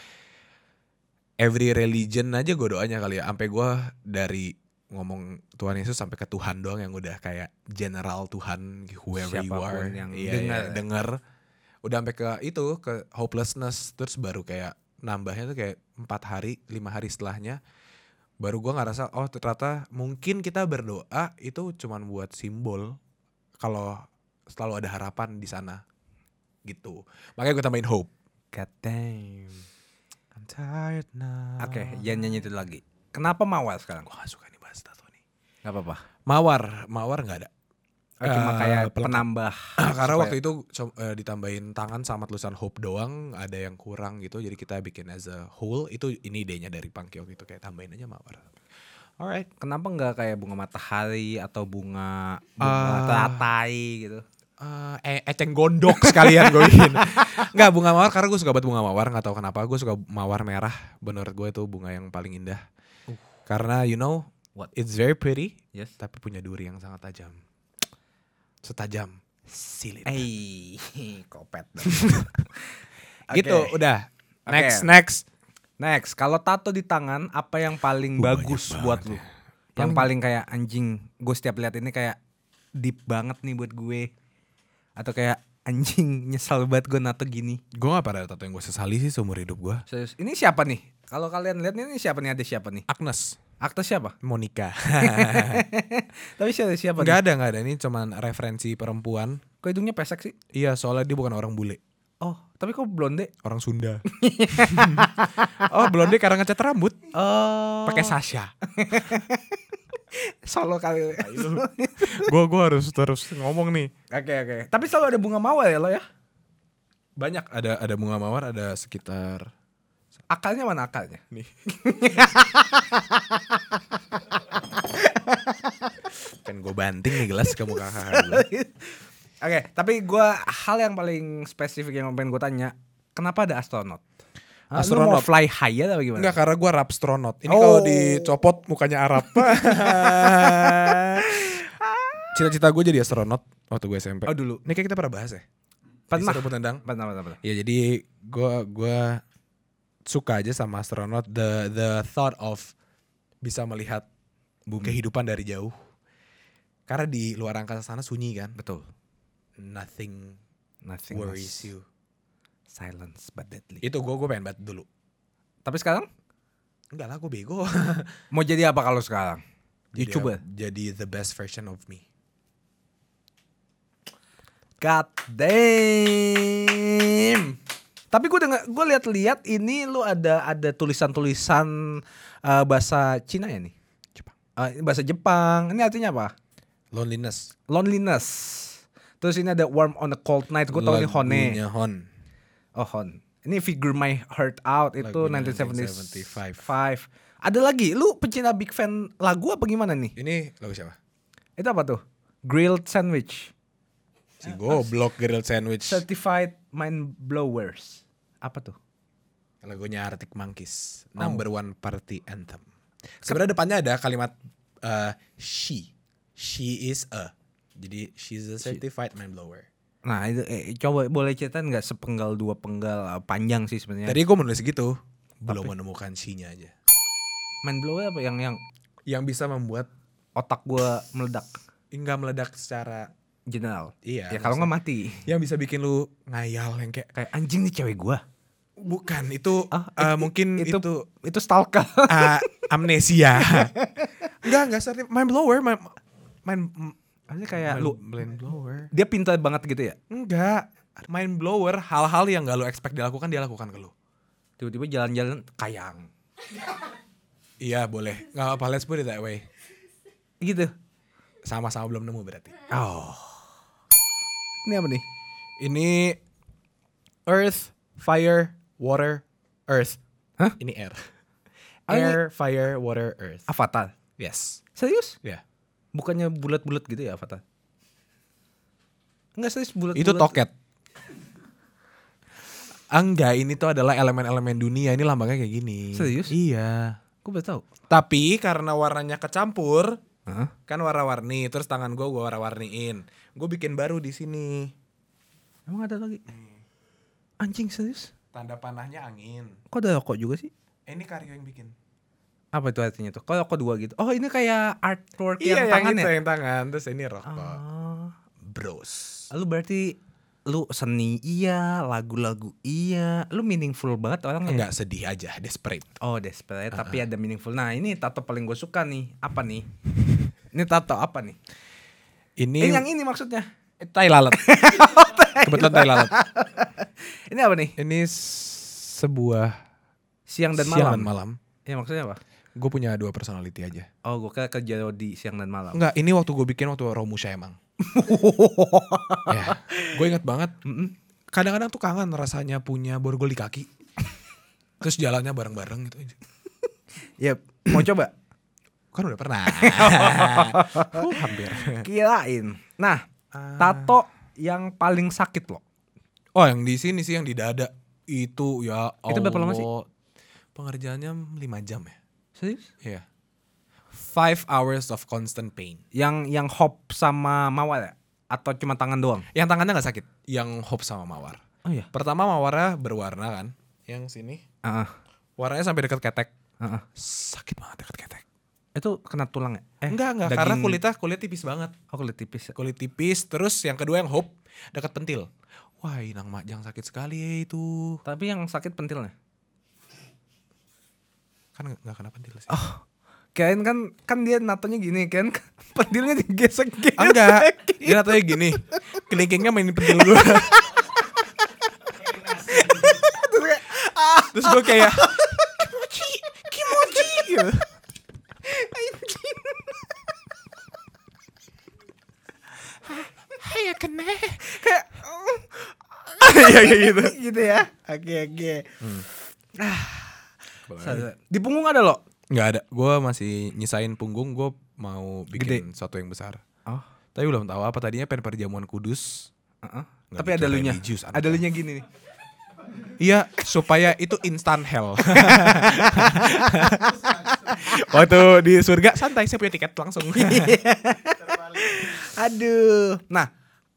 B: every religion aja gue doanya kali ya sampai gue dari ngomong Tuhan Yesus sampai ke Tuhan doang yang udah kayak general Tuhan whoever you
A: Siapapun
B: are
A: yang
B: Iya,
A: dengar.
B: iya, dengar udah sampai ke itu ke hopelessness terus baru kayak nambahnya tuh kayak empat hari lima hari setelahnya baru gua ngerasa oh ternyata mungkin kita berdoa itu cuman buat simbol kalau selalu ada harapan di sana gitu makanya gue tambahin hope
A: God damn.
B: I'm tired now
A: Oke, jangan nyanyi itu lagi. Kenapa mawar sekarang?
B: gue gak suka nih bahas tato nih
A: Gak apa-apa.
B: mawar mawar nggak ada
A: cuma
B: Eh,
A: kayak
B: pelengkap.
A: penambah.
B: karena waktu itu co- eh, ditambahin tangan sama tulisan hope doang ada yang kurang gitu jadi kita bikin as a whole itu ini idenya dari Pangkio gitu kayak tambahin aja mawar alright
A: Kenapa nggak kayak bunga matahari atau bunga bunga
B: Ah.
A: teratai gitu?
B: Eh, e- eceng gondok sekalian gue bikin. Enggak bunga mawar karena gue suka banget bunga mawar nggak tahu kenapa gue suka mawar merah. Menurut gue itu bunga yang paling indah. Karena you know
A: Uh. What?
B: it's very pretty
A: Yes.
B: tapi punya duri yang sangat tajam. Setajam silit.
A: Eh, kopet. dong.
B: Gitu
A: Oke.
B: udah.
A: Oke.
B: Next next.
A: Next, kalau tato di tangan apa yang paling
B: Uh,
A: bagus
B: banyak
A: buat lu?
B: banget
A: ya. Yang paling kayak anjing, gue setiap lihat ini kayak deep banget nih buat gue. Atau kayak anjing nyesal banget gue nato gini.
B: Gue gak pernah ada tato yang gue sesali sih seumur hidup gue.
A: Serius, ini siapa nih? Kalau kalian lihat nih, ini siapa nih? Ada siapa nih?
B: Agnes,
A: Aktor siapa?
B: Monica.
A: Tapi siapa siapa nih?
B: Gak ada gak ada ini cuman referensi perempuan.
A: Kok hidungnya pesek sih?
B: Iya soalnya dia bukan orang bule.
A: Oh, tapi kok blonde?
B: orang Sunda. oh, blonde karena ngecat rambut
A: Oh,
B: pakai Sasha.
A: solo kali.
B: Gua gua harus terus ngomong nih.
A: Oke oke. Tapi selalu ada bunga mawar ya lo ya?
B: Banyak ada ada bunga mawar ada sekitar
A: Akalnya mana akalnya?
B: nih. kan gue banting nih gelas ke muka kakak gua.
A: Oke, tapi gua hal yang paling spesifik yang pengen gue tanya, kenapa ada astronot? Hah, lu mau
B: Astronot.
A: fly high atau gimana?
B: Enggak karena gue rapstronot. Ini
A: Oh.
B: kalau dicopot mukanya Arab. Cita-cita gue jadi astronot waktu gue SMP.
A: Oh dulu.
B: Ini kayak kita pernah bahas ya.
A: Pernah.
B: Di Seru Tendang.
A: Bentar, bentar, bentar.
B: Ya jadi gua gua suka aja sama astronot the the thought of bisa melihat
A: Hmm.
B: kehidupan dari jauh. Karena di luar angkasa sana sunyi kan.
A: Betul.
B: Nothing
A: Nothing
B: worries
A: was
B: you.
A: Silence but deadly.
B: Itu gua gua pengen banget dulu.
A: Tapi sekarang
B: Enggak lah gue bego.
A: mau jadi apa kalau sekarang?
B: Jadi
A: YouTuber.
B: aku- Jadi the best version of me.
A: God damn. Tapi gue dengar, gue lihat-lihat ini lu ada ada tulisan-tulisan eh, bahasa Cina ya nih,
B: Jepang.
A: Eh, bahasa Jepang. Ini artinya apa?
B: Loneliness.
A: Loneliness. Terus ini ada Warm on a Cold Night. Gue tau ini Hone.
B: Lagunya Hon.
A: Oh Hon. Ini Figure My Heart Out itu
B: Lagunya
A: 1975. Ada lagi. Lu pecinta big fan lagu apa gimana nih?
B: Ini lagu siapa?
A: Itu apa tuh? Grilled Sandwich. Eh,
B: Si goblok grilled sandwich.
A: Certified Mind Blowers. Apa tuh?
B: Lagunya Arctic Monkeys, number one party anthem. Sebenarnya depannya ada kalimat uh, she, she is a. Jadi she's a certified mind blower.
A: Nah itu eh, coba boleh ceritain nggak sepenggal dua penggal eh, panjang sih sebenarnya.
B: Tadi gue menulis gitu, belum menemukan she-nya aja.
A: Mind blower apa yang yang
B: Yang bisa membuat
A: otak gua meledak
B: hingga meledak secara
A: general.
B: iya.
A: Ya kalau nggak mati
B: yang bisa bikin lu ngayal yang kayak
A: kayak anjing nih cewek gua.
B: bukan itu
A: Ah,
B: eh,
A: i- i-
B: mungkin
A: itu-
B: itu,
A: Itu stalker.
B: ah, amnesia. enggak enggak certified mind blower, mind mind, ya,
A: Maksudnya kayak lu
B: mind blower.
A: dia pintar banget gitu ya.
B: Enggak. Mind blower hal-hal yang gak lo expect dilakukan dia lakukan ke lo.
A: Tiba-tiba jalan-jalan kayang.
B: Iya boleh. Gak apa-apa let's put it that way.
A: Gitu.
B: Sama-sama belum nemu berarti.
A: Oh. Ini apa nih?
B: Ini Earth, Fire, Water, Earth.
A: Hah?
B: Ini air.
A: Ah, ini-
B: Air, Fire, Water, Earth.
A: Avatar.
B: Yes.
A: Serius?
B: Ya.
A: Bukannya bulat-bulat gitu ya Avatar? Enggak serius bulat.
B: Itu toket. Enggak, ini tuh adalah elemen-elemen dunia. Ini lambangnya kayak gini.
A: Serius?
B: Iya.
A: Gue baru tahu.
B: Tapi karena warnanya kecampur,
A: Hah?
B: kan warna-warni. Terus tangan gue gue warna-warniin. Gue bikin baru di sini.
A: Emang ada lagi? Anjing serius?
B: Tanda panahnya angin.
A: Kok ada rokok juga sih?
B: Eh, ini Karyo yang bikin.
A: Apa itu artinya tuh? Kok rokok dua gitu? Oh ini kayak artwork yang
B: Iya, yang,
A: tangan
B: itu
A: ya?
B: yang tangan. Terus ini rokok.
A: Ah.
B: Bros.
A: Lu berarti lu seni iya, lagu-lagu iya, lu meaningful banget orangnya.
B: Enggak sedih aja, desperate.
A: Oh desperate tapi ada meaningful. Nah ini tato paling gue suka nih. Apa nih? Ini tato apa nih? Eh, yang
B: Ini
A: ini Oh, maksudnya.
B: tai lalat. Kebetulan tai lalat.
A: Ini apa nih?
B: Ini s- sebuah
A: Siang dan
B: siang
A: malam.
B: dan malam.
A: Ya maksudnya apa?
B: Gue punya dua personality aja.
A: Oh gue kira kerja di siang dan malam.
B: Enggak, ini waktu gue bikin waktu Romusha emang. ya, gue inget banget.
A: Mm-mm.
B: Kadang-kadang tuh kangen rasanya punya borgol di kaki. Terus jalannya bareng-bareng gitu.
A: Ya mau coba?
B: Kan udah pernah. uh, hampir.
A: Kirain. Nah tato yang paling sakit loh.
B: Oh, yang di sini sih yang di dada itu ya Allah.
A: Itu berapa lama sih?
B: Pengerjaannya 5 jam ya.
A: Serius?
B: Iya. Five hours of constant pain.
A: Yang yang hop sama mawar ya? Atau cuma tangan doang?
B: Yang tangannya nggak sakit, yang hop sama mawar.
A: Oh iya.
B: Pertama mawarnya berwarna kan, yang sini
A: Ah,
B: warnanya sampai dekat ketek.
A: ah, ah.
B: Sakit banget dekat ketek.
A: Itu kena tulang ya? Eh,
B: Enggak enggak,
A: daging-
B: karena kulitnya kulit tipis banget.
A: Oh kulit tipis. ya?
B: Kulit tipis, terus yang kedua yang hop dekat pentil. Wah, inang majang sakit sekali ya itu.
A: Tapi yang sakit pentilnya.
B: Kan nggak- nggak kena pentil sih.
A: Oh, kirain kan kan dia natonya gini kan pentilnya digesek-gesek.
B: Enggak, dia katanya gini. Kelingkingnya mainin pentil gue. Terus gue kayak kimochi, kimochi gitu. Hai ya kene.
A: Kayak
B: Iya iya gitu. Hmm.
A: gitu ya. Oke oke. Sadar. Di punggung ada loh.
B: Enggak ada. Gue masih nyisain punggung. Gue mau bikin sesuatu yang besar.
A: Oh.
B: Tapi belum tahu apa tadinya pengen perjamuan kudus. Nggak
A: Tapi ada
B: bicara
A: lunya.
B: religius, anak.
A: Ada lunya gini nih.
B: Iya, supaya itu instant hell. Waktu di surga santai saya punya tiket langsung.
A: Aduh. Nah,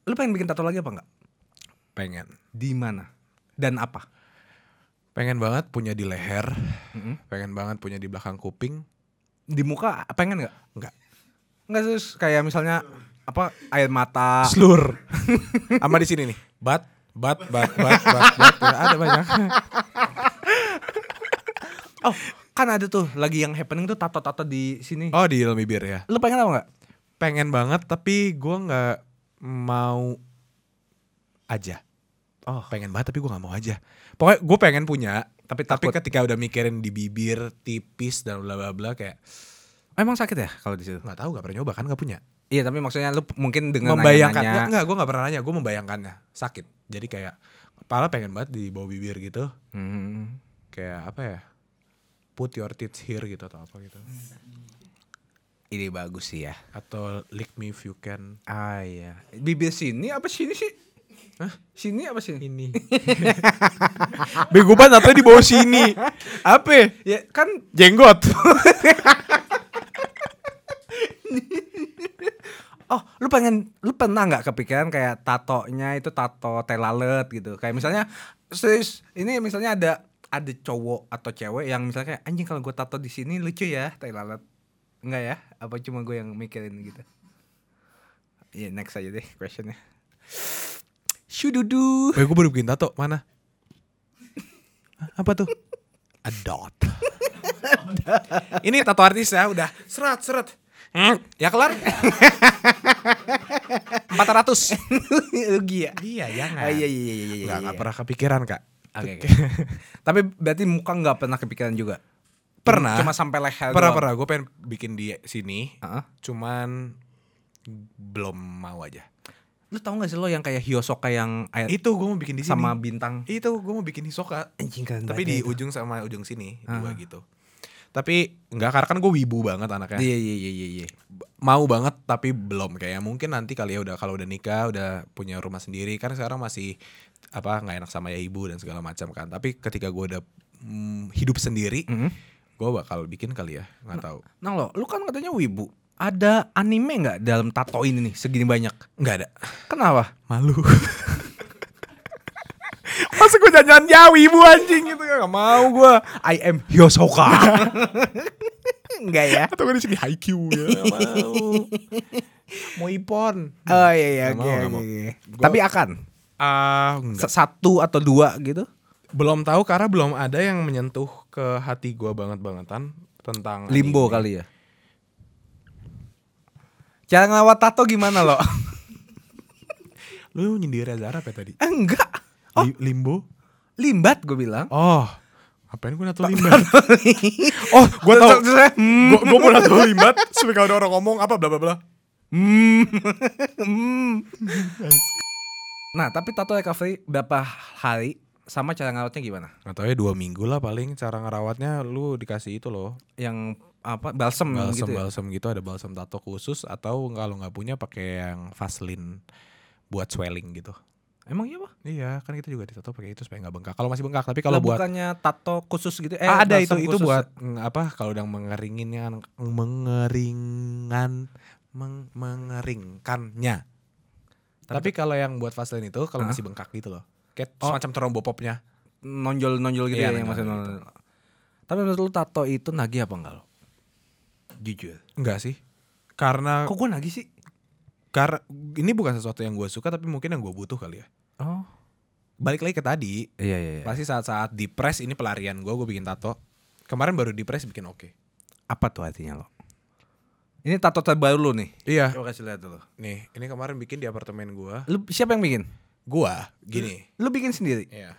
A: lu pengen bikin tato lagi apa enggak?
B: pengen,
A: Di mana? Dan apa?
B: pengen banget punya di leher, pengen banget punya di belakang kuping.
A: Di muka pengen nggak?
B: Enggak.
A: Enggak sus kayak misalnya apa air
B: Ah.
A: mata.
B: Slur. Sama di sini nih. Bat, bat, bat, bat, bat, bat. Ada banyak.
A: Oh, kan ada tuh lagi yang happening tuh tato-tato di sini.
B: Oh di dalam bibir ya.
A: Lu pengen apa enggak?
B: Pengen banget tapi gua nggak mau aja.
A: Oh.
B: Pengen banget tapi gua nggak mau aja. Pokoknya gue pengen punya
A: Tapi
B: tapi
A: takut.
B: ketika udah mikirin di bibir tipis dan bla bla bla kayak
A: Emang sakit ya kalau di situ?
B: nggak tahu nggak pernah nyoba kan nggak punya
A: Iya, tapi maksudnya lu p- mungkin dengan
B: membayangkannya
A: nanya-nanya-
B: nggak gue nggak pernah nanya gue membayangkannya sakit jadi kayak kepala pengen banget di bawah bibir gitu
A: Hmm.
B: kayak apa ya put your teeth here gitu atau apa gitu
A: Ini bagus sih ya.
B: atau lick me if you can
A: Ah iya. Bibir sini apa sini sih? Hah? Sini apa sini?
B: ini bego banget atau di bawah sini apa
A: Ya kan
B: jenggot
A: Oh, lu pengen lu pernah nggak kepikiran kayak tatonya itu tato telalet gitu. Kayak misalnya serius ini misalnya ada ada cowok atau cewek yang misalnya kayak anjing kalau gue tato di sini lucu ya telalet. Enggak ya? Apa cuma gue yang mikirin gitu? Ya next aja deh questionnya. Shududu.
B: bego baru bikin tato mana Hah, apa tuh a dot ini tato artis ya udah seret seret ya kelar 400
A: Rugi ya?
B: Iya, jangan.
A: Ah, iya iya iya iya.
B: Enggak,
A: iya.
B: enggak pernah kepikiran, Kak.
A: Oke, oke. Tapi berarti muka nggak pernah kepikiran juga.
B: Pernah.
A: Cuma sampai leher.
B: Pernah,
A: doang.
B: pernah. Gue pengen bikin di sini.
A: Heeh.
B: Cuman belum mau aja.
A: Lu tau gak sih lo yang kayak Hiyosoka yang ayat
B: Itu gue mau bikin di sini.
A: sama bintang?
B: Itu gue mau bikin Hisoka.
A: Anjing keren
B: Tapi
A: banget ya
B: di
A: itu.
B: ujung sama ujung sini dua gitu. Tapi nggak karena kan gue wibu banget anaknya.
A: Iya iya iya iya. iya.
B: B- Mau banget tapi belum kayak mungkin nanti kali ya udah kalau udah nikah udah punya rumah sendiri kan sekarang masih apa nggak enak sama ya ibu dan segala macam kan. Tapi ketika gue udah mm, hidup sendiri,
A: Mm.
B: gue bakal bikin kali ya nggak tahu.
A: Nah lo, lu kan katanya wibu. Ada anime nggak dalam tato ini nih segini banyak?
B: Nggak ada.
A: Kenapa?
B: Malu. Masa gue jajan
A: Ya,
B: jawi ibu anjing gitu Gak mau gue I am Yosoka
A: Enggak ya.
B: Atau gue di sini Haikyuu ya Gak mau Mau ipon
A: Oh iya iya
B: Nggak
A: oke
B: mau, nggak
A: oke,
B: mau.
A: oke.
B: Gua-
A: Tapi akan
B: Ah,
A: S-
B: enggak.
A: satu atau dua gitu.
B: Belum tahu karena belum ada yang menyentuh ke hati gue banget-bangetan Tentang
A: Limbo
B: anime.
A: kali ya. Cara ngelawat tato gimana lo?
B: Lu nyindir Reza Arab ya tadi
A: Enggak. Oh,
B: Li- Limbo
A: limbat gue bilang.
B: Oh Apain gue nato limbat Oh gue tau
A: Terus saya, hmm,
B: Gue mau nato limbat Supaya kalau ada orang ngomong apa bla bla bla
A: hmm, hmm. Nah, tapi tato recovery berapa hari sama cara ngelawatnya gimana?
B: Gak tau ya dua minggu lah paling cara ngerawatnya lu dikasih itu loh
A: Yang apa balsem,
B: balsam
A: gitu. ya?
B: balsam gitu ada balsam tato khusus atau kalau nggak punya pakai yang vaselin buat swelling gitu
A: Emang iya, Pak?
B: iya kan kita juga ditato pakai itu supaya nggak bengkak kalau masih bengkak tapi kalau
A: Lah,
B: buat
A: bukannya tato khusus gitu eh
B: Ah, ada itu
A: balsam
B: itu
A: khusus.
B: buat mm, apa kalau udah mengeringinnya mengeringan meng- mengeringkannya tapi, kalau yang buat vaselin itu kalau
A: Hah?
B: masih bengkak gitu loh kayak semacam terombopopnya
A: nonjol-nonjol gitu
B: Iya,
A: ya yang maksudnya.
B: nonjol
A: nonjol. Tapi menurut lu tato itu nagih apa enggak lo? Jujur.
B: enggak sih karena
A: Kok gua nagih sih?
B: karena ini bukan sesuatu yang gue suka tapi mungkin yang gue butuh kali ya
A: Oh.
B: balik lagi ke tadi
A: Iya iya iya.
B: Pasti saat-saat depres ini pelarian gue, gue bikin tato. Kemarin baru depres bikin oke.
A: Apa tuh artinya lo? Ini tato terbaru lu nih.
B: Iya.
A: Coba kasih lihat dulu.
B: Nih, ini kemarin bikin di apartemen gue.
A: Lu siapa yang bikin?
B: Gue gini.
A: Lu bikin sendiri.
B: Iya.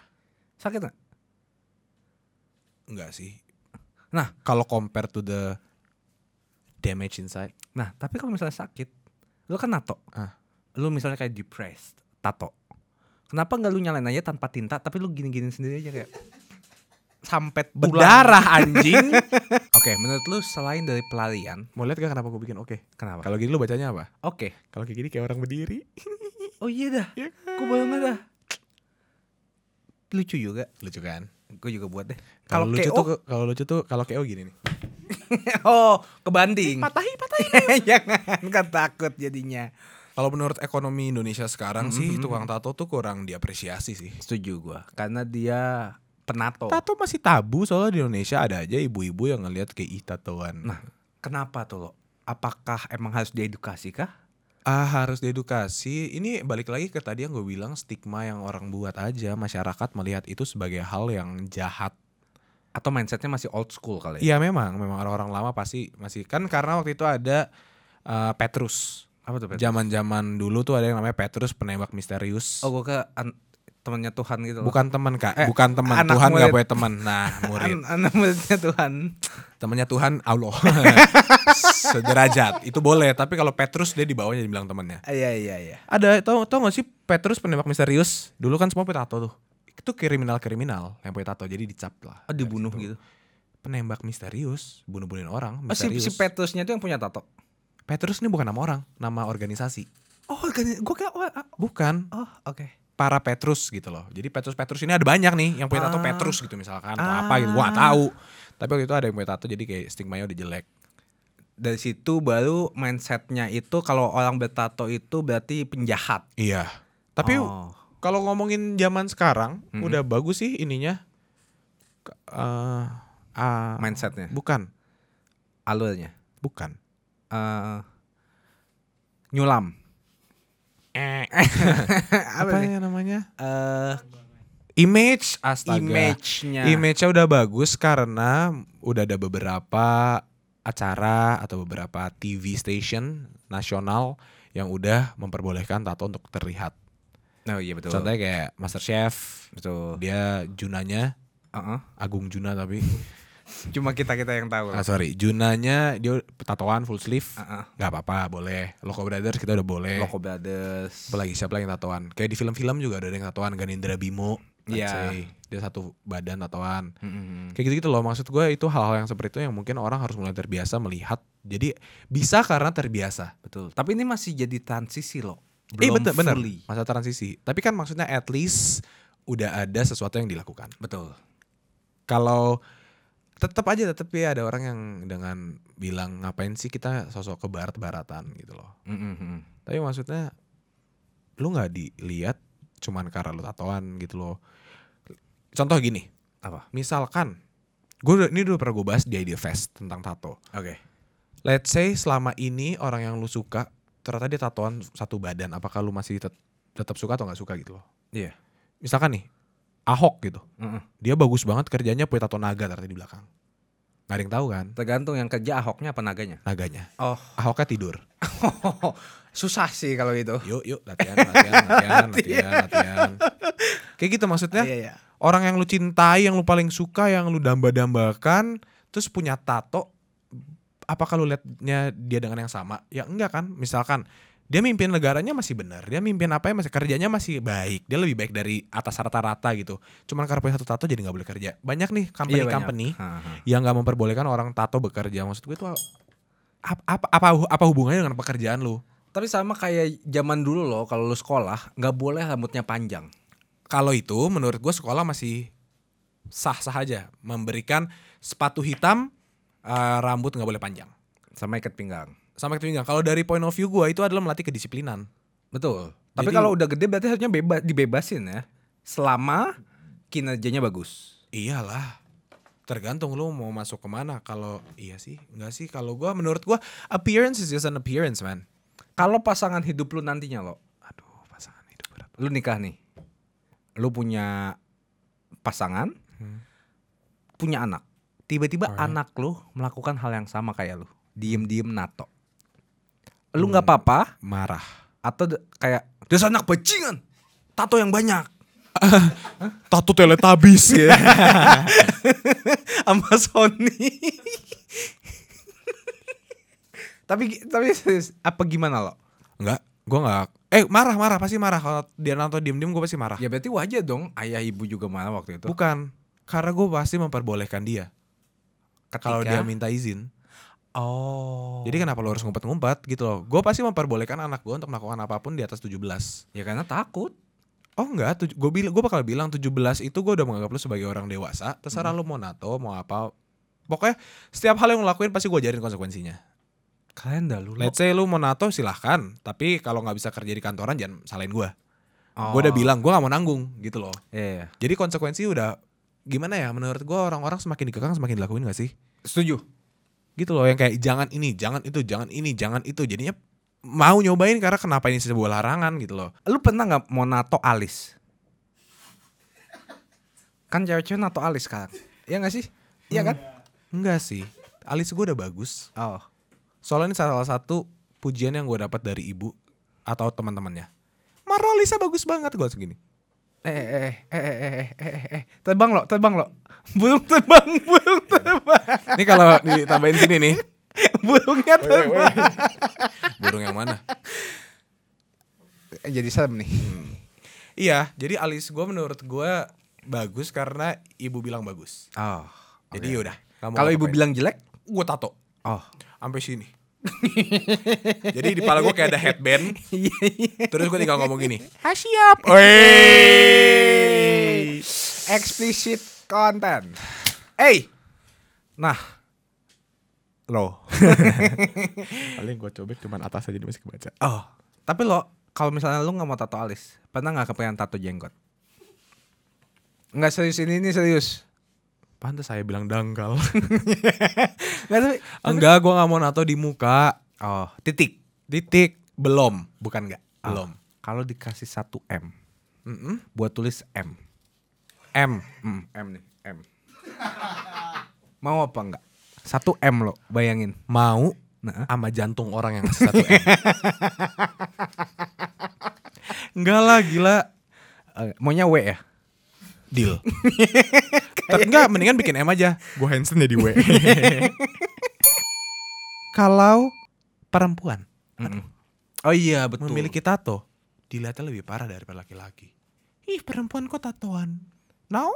A: Sakit gak?
B: Enggak sih.
A: Nah.
B: kalau compare to the damage inside.
A: Nah, tapi kalau misalnya sakit, lu kan nato.
B: Ah.
A: Lu misalnya kayak depressed, tato. Kenapa nggak lu nyalain aja tanpa tinta, tapi lu gini-gini sendiri aja kayak sampet berdarah.
B: Berdarah anjing.
A: Oke, menurut lu selain dari pelarian,
B: Mau lihat gak kenapa gue bikin oke?
A: kenapa? Oke.
B: Kalau gini lu bacanya apa? Kalau kayak gini kayak orang berdiri.
A: Oh iya dah.
B: Iya
A: Gue bayang dah. Lucu juga.
B: Lucu kan?
A: Gue juga buat deh.
B: Kalau
A: Kalau
B: lucu
A: KO,
B: tuh kalau lucu tuh kalau KO gini nih.
A: oh kebanting.
B: Patahi, patahi.
A: Jangan kan takut jadinya.
B: Kalau menurut ekonomi Indonesia sekarang sih tukang tato tuh kurang diapresiasi sih.
A: Setuju gua karena dia penato.
B: Tato masih tabu soalnya di Indonesia ada aja ibu-ibu yang ngelihat kayak ih tatoan.
A: Nah, kenapa tuh lo? Apakah emang harus diedukasi kah?
B: Ah harus diedukasi. Ini balik lagi ke tadi yang gue bilang stigma yang orang buat aja masyarakat melihat itu sebagai hal yang jahat.
A: Atau mindsetnya masih old school kali ya?
B: Iya memang, memang orang-orang lama pasti masih kan karena waktu itu ada eh, Petrus.
A: Apa tuh? Pet?
B: Zaman-zaman dulu tuh ada yang namanya Petrus penembak misterius.
A: Oh gue ke an- temannya Tuhan gitu loh.
B: Bukan teman kak,
A: Eh,
B: bukan teman
A: anak
B: Tuhan nggak
A: murid.
B: punya teman. Nah murid,
A: An- anak muridnya Tuhan.
B: temannya Tuhan Allah sederajat itu boleh. Tapi kalau Petrus dia di bawahnya dibilang temannya.
A: Iya iya iya.
B: Ada tau tau gak sih Petrus penembak misterius? Dulu kan semua punya tato tuh. Itu kriminal kriminal yang punya tato jadi dicap lah.
A: Oh dibunuh
B: Dari situ.
A: gitu.
B: Penembak misterius, bunuh-bunuhin orang.
A: Oh, si,
B: Misterius.
A: si Petrusnya tuh yang punya tato.
B: Petrus ini bukan nama orang, nama organisasi.
A: Oh, gue kayak oh,
B: Bukan
A: oh oke.
B: para Petrus gitu loh. Jadi Petrus Petrus ini ada banyak nih yang punya tato
A: Ah.
B: Petrus gitu misalkan atau
A: Ah.
B: apa gitu. Gua gak tahu. Tapi waktu itu ada yang punya tato jadi kayak stigmanya udah jelek.
A: Dari situ baru mindsetnya itu kalau orang bertato itu berarti penjahat.
B: Iya. Tapi
A: Oh.
B: kalau ngomongin zaman sekarang udah bagus sih ininya. Ke- eh ah,
A: mindsetnya,
B: bukan,
A: alurnya,
B: bukan.
A: Eh, nyulam.
B: Eh,
A: Apa
B: apa
A: nih?
B: ya namanya?
A: Eh,
B: Image, astaga.
A: image-nya.
B: Image-nya udah bagus karena udah ada beberapa acara atau beberapa TV station nasional yang udah memperbolehkan tato untuk terlihat.
A: Oh iya betul.
B: Contohnya kayak MasterChef,
A: betul.
B: dia Junanya,
A: Heeh.
B: Agung Juna tapi
A: Cuma kita-kita yang tahu.
B: Ah sorry, Junanya dia tatoan full sleeve,
A: Heeh.
B: nggak apa-apa, boleh. Loco Brothers kita udah boleh.
A: Loco Brothers.
B: Apalagi siapa lagi yang tatoan? Kayak di film-film juga ada yang tatoan, Ganindra Bimo. let's
A: Iya.
B: say. Dia satu badan tatoan.
A: Mm-mm.
B: Kayak gitu-gitu loh maksud gue itu hal-hal yang seperti itu yang mungkin orang harus mulai terbiasa melihat. Jadi bisa karena terbiasa.
A: Betul. Tapi ini masih jadi transisi loh.
B: eh
A: Belum
B: bener, bener.
A: fully.
B: Masa transisi. Tapi kan maksudnya at least udah ada sesuatu yang dilakukan.
A: Betul.
B: Kalau tetap aja tetap ya ada orang yang dengan bilang ngapain sih kita sosok ke barat-baratan gitu loh.
A: Mm-mm.
B: Tapi maksudnya lu nggak dilihat cuman karena lu tatoan gitu loh. Contoh gini,
A: Apa?
B: misalkan gue ini dulu pernah gue bahas di Idea Fest tentang tato.
A: Oke.
B: Let's say selama ini orang yang lu suka ternyata dia tatoan satu badan, apakah lu masih tet- tetap suka atau nggak suka gitu loh?
A: Iya.
B: Misalkan nih Ahok gitu,
A: Mm-mm.
B: dia bagus banget kerjanya punya tato naga ternyata di belakang. Gak ada yang tahu kan
A: Tergantung yang kerja ahoknya apa naganya.
B: naganya.
A: Oh.
B: Ahoknya tidur.
A: Susah sih kalau itu.
B: Yuk yuk latihan latihan latihan latihan latihan. Kayak gitu maksudnya.
A: Iya, iya.
B: orang yang lu cintai, yang lu paling suka, yang lu damba-dambakan, terus punya tato, apakah lu liatnya dia dengan yang sama? Ya enggak kan, misalkan dia mimpin negaranya masih benar, dia mimpin apa ya masih kerjanya masih baik, dia lebih baik dari atas rata-rata gitu. Cuman karena punya satu tato jadi nggak boleh kerja. Banyak nih
A: Iya, banyak.
B: company-company
A: Ha, ha.
B: yang nggak memperbolehkan orang tato bekerja. Maksud gue itu apa apa apa, apa hubungannya dengan pekerjaan lu?
A: Tapi sama kayak zaman dulu loh kalau lu sekolah nggak boleh rambutnya panjang.
B: Kalau itu menurut gue sekolah masih sah-sah aja memberikan sepatu hitam eh, rambut nggak boleh panjang
A: Sama ikat pinggang.
B: sama ketinggian. Kalau dari point of view gue itu adalah melatih kedisiplinan.
A: Betul. Tapi
B: Jadi-
A: kalau udah gede berarti harusnya bebas dibebasin ya. Selama kinerjanya bagus.
B: Iyalah. Tergantung lu mau masuk kemana. Kalau iya sih, nggak sih. Kalau gue menurut gue appearance is just an appearance man.
A: Kalau pasangan hidup lu nantinya lo,
B: Aduh pasangan hidup berat.
A: lu nikah nih. Lu punya pasangan, punya anak. Tiba-tiba anak lu melakukan hal yang sama kayak lu. Diem-diem nato. Lu nggak apa-apa
B: Marah.
A: atau d- kayak dasar anak bajingan. Tato yang banyak.
B: Tato teletabis ya.
A: sama Sony. tapi tapi serius, apa gimana lo?
B: Enggak, gue nggak. Eh marah marah pasti marah. Kalau dia nonton diem diem gue pasti marah.
A: Ya berarti wajar dong ayah ibu juga marah waktu itu.
B: Bukan. Karena gue pasti memperbolehkan dia. Kalau
A: Iya.
B: dia minta izin.
A: oh.
B: Jadi kenapa lo harus ngumpet-ngumpet gitu loh. Gue pasti memperbolehkan anak gue untuk melakukan apapun di atas 17.
A: ya karena takut.
B: Oh enggak, gue bilang gue bakal bilang 17 itu gue udah menganggap lu sebagai orang dewasa. Terserah
A: Hmm.
B: lu mau nato, mau apa. Pokoknya setiap hal yang lu lakuin pasti gue ajarin konsekuensinya.
A: Kalian dah lu. Lo.
B: Let's say lu mau nato silahkan, tapi kalau nggak bisa kerja di kantoran jangan salahin gue.
A: Oh.
B: Gue udah bilang gue nggak mau nanggung gitu loh.
A: Iya, iya.
B: Jadi konsekuensi udah gimana ya? Menurut gue orang-orang semakin dikekang semakin dilakuin gak sih?
A: Setuju.
B: gitu loh yang kayak jangan ini, jangan itu, jangan ini, jangan itu. Jadinya mau nyobain karena kenapa ini sebuah larangan gitu loh.
A: Lu pernah nggak mau nato alis? Kan cewek-cewek nato alis sekarang. Iya gak sih? Iya kan?
B: Enggak sih. Alis gue udah bagus.
A: Oh.
B: Soalnya ini salah satu pujian yang gue dapat dari ibu atau teman-temannya. Marwa Lisa bagus banget gue segini.
A: Eh eh eh eh eh eh eh eh, eh terbang lo terbang lo burung terbang burung terbang
B: Ini kalau ditambahin sini nih.
A: burungnya terbang
B: Burung yang mana?
A: Eh, jadi serem nih
B: Iya, jadi alis gue menurut gue bagus karena ibu bilang bagus.
A: oh
B: Jadi yaudah.
A: kalau ibu bilang jelek
B: gue tato
A: oh
B: sampai sini. jadi di kepala gue kayak ada headband. Terus gue tinggal ngomong gini.
A: ah siap
B: Wey.
A: explicit content hey nah lo
B: Paling gue cobek cuman atas aja dia masih kebaca.
A: oh tapi lo kalau misalnya lo nggak mau tato alis pernah nggak kepengen tato jenggot nggak serius ini ini serius
B: Pantes saya bilang dangkal.
A: nggak tapi
B: Enggak, gue nggak mau nato di muka.
A: oh titik Ah,
B: Titik belum, bukan enggak. Belum.
A: kalau dikasih satu m
B: Mm-mm.
A: buat tulis m
B: M.
A: Mm, M nih, M. Mau apa enggak? Satu M lo, bayangin.
B: Mau
A: Nah,
B: sama jantung orang yang ngasih satu M. enggak lah, gila.
A: eh, maunya W ya?
B: Deal. Ter- Enggak, mendingan bikin M aja. Gue Hansen jadi W. Kalau perempuan
A: Mm-mm. Oh iya betul.
B: memiliki tato, dilihatnya lebih parah daripada laki-laki. Ih, perempuan kok tatoan? Now?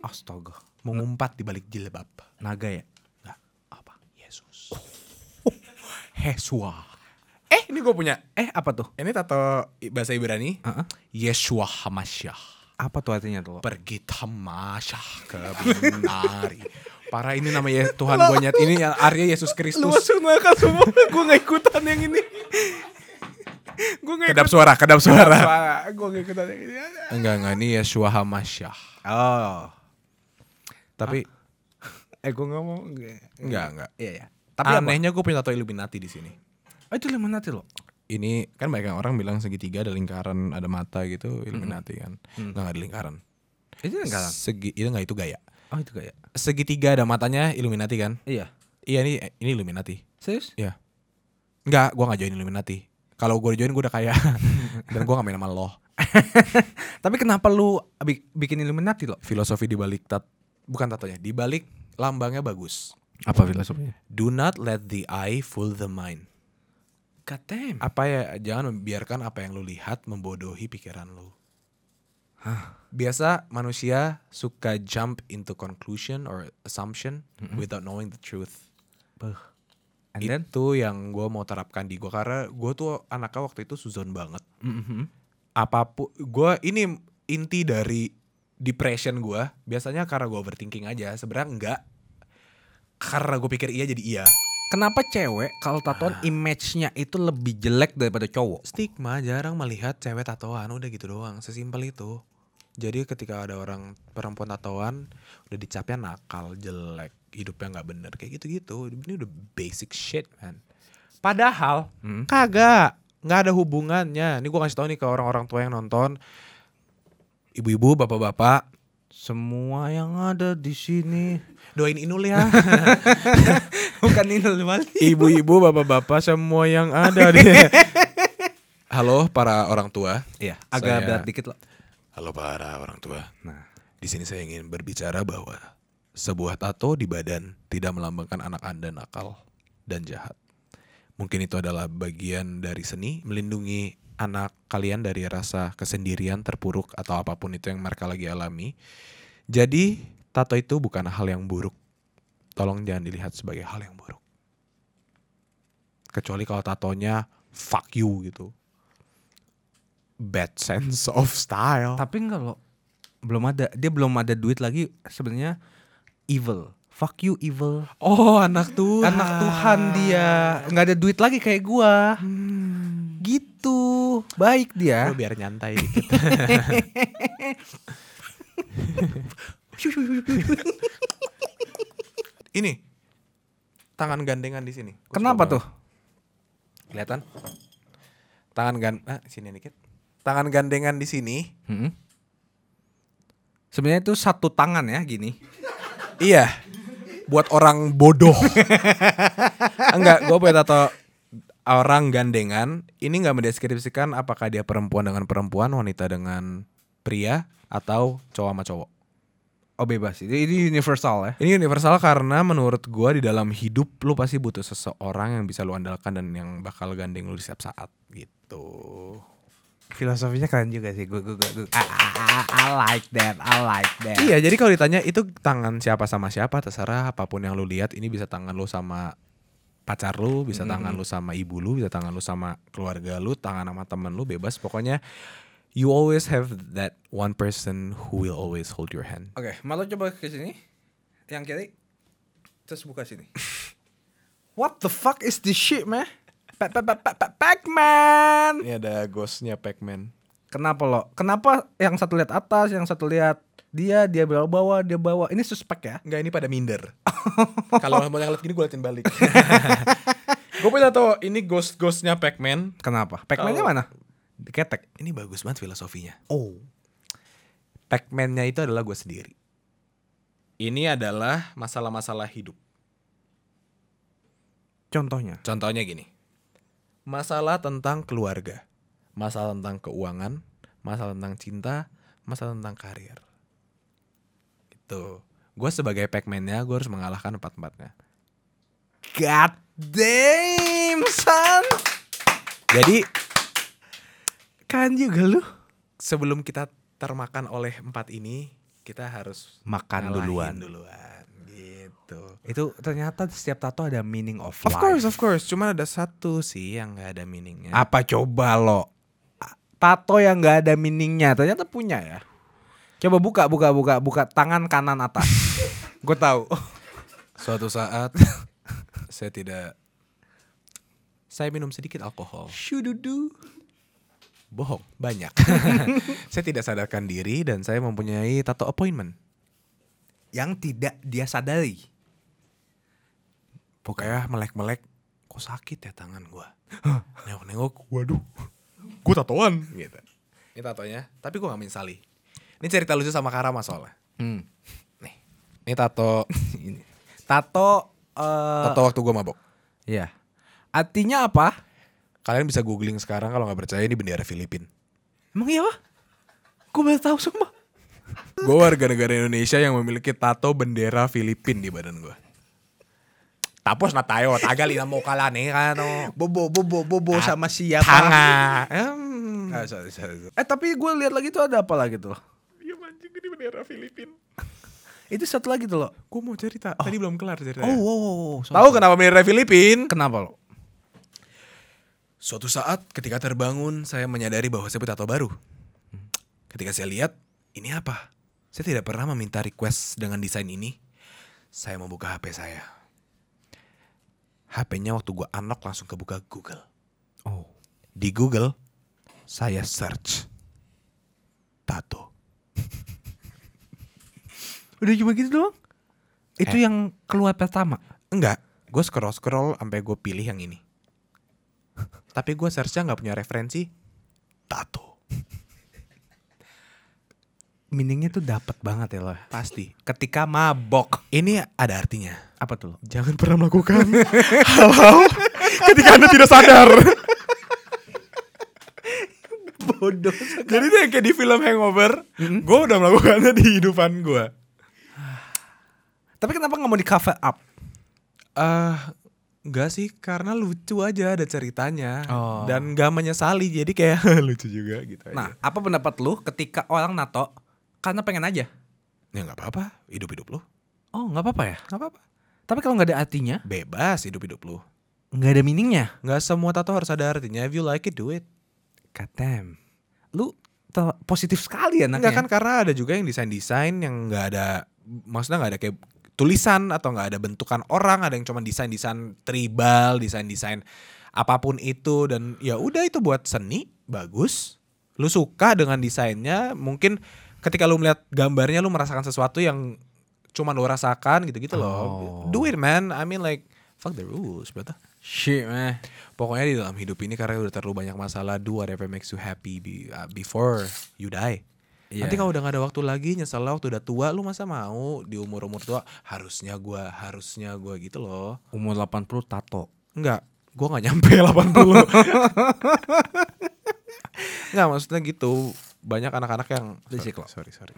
A: astaga
B: Mengumpat di balik jilbab.
A: naga ya.
B: Enggak, apa? Yesus.
A: Heswa.
B: Eh, ini gue punya.
A: Eh apa tuh?
B: Ini tato bahasa Ibrani.
A: Heeh.
B: Yeshua HaMashiach.
A: Apa tuh artinya tuh? lo?
B: pergi tamasyah ke binari. Para ini namanya Tuhan gue nyet ini yang Arya Yesus Kristus.
A: neraka semua. Gue gak ikutan yang ini. Gue gak
B: Kedap suara, kedap suara.
A: Gue gak ikutan yang ini.
B: Enggak enggak ini Yeshua Hamasyah.
A: Oh.
B: Tapi
A: Eh gue ngomong.
B: enggak enggak.
A: Iya ya.
B: Tapi anehnya gue punya tato Illuminati di sini.
A: Oh, itu Illuminati loh.
B: Ini kan banyak yang orang bilang segitiga ada lingkaran, ada mata gitu, Illuminati kan. Enggak enggak ada lingkaran.
A: Itu enggak.
B: Segi itu enggak itu gaya.
A: Oh itu kayak.
B: Segitiga ada matanya Illuminati kan?
A: Iya.
B: Iya ini ini Illuminati.
A: Serius?
B: Iya. Enggak, gua nggak join Illuminati. Kalau gua join gua udah kaya. Dan gua nggak main sama lo.
A: Tapi kenapa lu bi- bikin Illuminati loh?
B: Filosofi di balik tat bukan tatonya, di balik lambangnya bagus.
A: Apa filosofinya?
B: Do not let the eye fool the mind.
A: God damn.
B: Apa ya jangan membiarkan apa yang lu lihat membodohi pikiran lu. Biasa manusia suka jump into conclusion or assumption without knowing the truth.
A: And then?
B: Itu yang gua mau terapkan di gua karena gua tuh anaknya waktu itu suzon banget.
A: Mm-hmm.
B: apapun gue ini inti dari depression gue biasanya karena gue overthinking aja sebenarnya enggak karena gue pikir iya jadi iya
A: Kenapa cewek kalau tatoan
B: Ah.
A: image-nya itu lebih jelek daripada cowok?
B: stigma jarang melihat cewek tatoan udah gitu doang sesimpel itu jadi ketika ada orang perempuan tatoan udah dicapnya nakal jelek hidupnya nggak bener kayak gitu gitu ini udah basic shit man padahal kagak nggak ada hubungannya ini gue kasih tau nih ke orang-orang tua yang nonton ibu-ibu bapak-bapak
A: Semua yang ada di sini
B: doain Inul ya
A: bukan Inul Mali.
B: ibu-ibu bapak-bapak semua yang ada di halo para orang tua
A: Iya, agak
B: Saya- Oh.
A: berat dikit loh.
B: halo para orang tua
A: Nah,
B: di sini saya ingin berbicara bahwa sebuah tato di badan tidak melambangkan anak anda nakal dan jahat mungkin itu adalah bagian dari seni melindungi anak kalian dari rasa kesendirian terpuruk atau apapun itu yang mereka lagi alami jadi tato itu bukan hal yang buruk tolong jangan dilihat sebagai hal yang buruk kecuali kalau tatonya fuck you gitu bad sense of style
A: tapi enggak loh. Belum ada, dia belum ada duit lagi sebenarnya evil. Fuck you evil.
B: Oh anak Tuhan
A: Anak Tuhan dia nggak ada duit lagi kayak gua.
B: Hmm.
A: Gitu. Baik dia.
B: Lu biar nyantai dikit Ini Tangan gandengan di sini Gua
A: Kenapa
B: suka
A: tuh?
B: banget. Kelihatan Tangan gan ah, Sini dikit Tangan gandengan di sini
A: Hmm. Sebenarnya itu satu tangan ya gini.
B: Iya Buat orang bodoh Enggak gue punya tato Orang gandengan Ini nggak mendeskripsikan Apakah dia perempuan dengan perempuan Wanita dengan pria Atau cowok sama cowok
A: Oh bebas. Ini, ini universal ya.
B: Ini universal karena menurut gua di dalam hidup lu pasti butuh seseorang yang bisa lu andalkan dan yang bakal gandeng lu di setiap saat gitu.
A: Filosofinya keren juga sih. Gue gue gue. I, I- ah, I like that. I like that.
B: Iya, jadi kalau ditanya itu tangan siapa sama siapa terserah apapun yang lu lihat ini bisa tangan lu sama pacar lu, bisa tangan lu sama ibu lu, bisa tangan lu sama keluarga lu, tangan sama temen lu bebas pokoknya you always have that one person who will always hold your hand.
A: Oke, malu coba ke sini. Yang kiri. Terus buka sini. What the fuck is this shit, man? Pac pac pac pac Pac-Man.
B: Ini ada ghostnya Pac-Man.
A: Kenapa lo? Kenapa yang satu lihat atas, yang satu lihat dia, dia bawah, bawah, dia bawah. Ini suspek ya?
B: Enggak ini pada minder. Kalau mau yang lihat gini gue liatin balik. gue punya tato ini ghost ghostnya Pac-Man.
A: Kenapa? Pac-Man-nya
B: Kalau-
A: mana? Diketek.
B: Ini bagus banget filosofinya.
A: Oh.
B: Pac-Man-nya itu adalah gue sendiri. Ini adalah masalah-masalah hidup.
A: Contohnya.
B: Contohnya gini. Masalah tentang keluarga, masalah tentang keuangan, masalah tentang cinta, masalah tentang karir. Gitu. gitu. Gue sebagai Pac-Man-nya gue harus mengalahkan empat-empatnya.
A: God damn son
B: Jadi
A: Kan juga lu
B: sebelum kita termakan oleh empat ini, kita harus
A: Makan
B: ngalahin
A: duluan
B: Kan duluan gitu.
A: Itu ternyata setiap tato ada meaning of,
B: Of
A: life.
B: course, of course. Cuma ada satu sih yang nggak ada meaningnya.
A: Apa coba lo Tato yang gak ada meaningnya Ternyata punya ya Coba buka buka buka buka Tangan kanan atas Oh, Gue tahu
B: Suatu saat saya tidak saya minum sedikit alkohol.
A: Shududu
B: Bohong, banyak. saya tidak sadarkan diri dan saya mempunyai tato appointment.
A: Yang tidak dia sadari
B: Pokoknya melek-melek kok sakit ya tangan gua. Nengok-nengok, waduh. Gua tatoan gitu. Ini tatonya, tapi gua gak menyesali. Ini cerita lucu sama Karama soalnya.
A: hmm.
B: Nih. Ini tato
A: Ini. Tato eh,
B: tato waktu gua mabok.
A: Ya Artinya apa?
B: Kalian bisa googling sekarang kalau nggak percaya ini bendera Filipina.
A: Emang iya Pak? Gue baru tahu semua
B: Gue warga negara Indonesia yang memiliki tato bendera Filipin di badan gue. Tapos na tayo, tagal ina mo kala nih ano.
A: Bobo bobo bobo sama siapa?
B: Tanga. Em.
A: Ah, sorry, sorry, sorry. Eh tapi gue lihat lagi tuh ada apa lagi tuh?
B: Iya mancing ini bendera Filipin.
A: Itu satu lagi tuh lo.
B: Gue mau cerita, tadi belum kelar cerita.
A: Oh, wow, wow, wow.
B: Tahu kenapa bendera Filipin?
A: kenapa lo?
B: Suatu saat ketika terbangun, saya menyadari bahwa saya punya tato baru. Ketika saya lihat, ini apa? Saya tidak pernah meminta request dengan desain ini. Saya membuka HP saya. HP-nya waktu gua unlock langsung kebuka Google.
A: Oh.
B: Di Google, saya search. Tato.
A: Udah cuma gitu doang? Itu
B: Eh.
A: yang keluar pertama.
B: Enggak, gue scroll-scroll sampai gue pilih yang ini. Tapi gue searchnya nggak punya referensi. Tato.
A: Meaningnya tuh dapat banget ya lo.
B: Pasti.
A: Ketika mabok.
B: Ini ada artinya.
A: Apa tuh lo?
B: Jangan pernah melakukan hal-hal ketika Anda tidak sadar.
A: Bodoh.
B: Jadi tuh yang kayak di film Hangover, gue udah melakukannya di hidupan gue.
A: Tapi kenapa nggak mau di cover up?
B: Eh, enggak sih, karena lucu aja ada ceritanya
A: Oh.
B: dan gak menyesali. Jadi kayak lucu juga gitu.
A: Nah, apa pendapat lu ketika orang nato karena pengen aja?
B: aja. ya nggak apa-apa, hidup-hidup lu,
A: Oh, nggak apa-apa ya.
B: nggak apa-apa,
A: Tapi kalau nggak ada artinya,
B: bebas hidup-hidup lu.
A: nggak ada meaningnya.
B: Nggak semua tato harus ada artinya. If you like it, do it.
A: God damn. Lu te- positif sekali anaknya.
B: Enggak kan karena ada juga yang desain-desain yang nggak ada maksudnya nggak ada kayak tulisan atau nggak ada bentukan orang, ada yang cuma desain-desain tribal, desain-desain apapun itu dan ya udah itu buat seni bagus. Lu suka dengan desainnya, mungkin ketika lu melihat gambarnya lu merasakan sesuatu yang cuma lu rasakan gitu-gitu
A: Oh.
B: loh. Do it man. I mean like fuck the rules, brother.
A: Shit,
B: Eh,
A: man.
B: Pokoknya di dalam hidup ini karena udah terlalu banyak masalah, do whatever makes you happy be- uh, before you die.
A: Iya.
B: Nanti kalau udah gak ada waktu lagi, nyesel lah waktu udah tua, lu masa mau di umur-umur tua harusnya gua, harusnya gua gitu loh.
A: Umur 80 tato.
B: Enggak, gua nggak nyampe 80. Enggak, maksudnya gitu. Banyak anak-anak yang
A: Berisik lo.
B: sorry, sorry.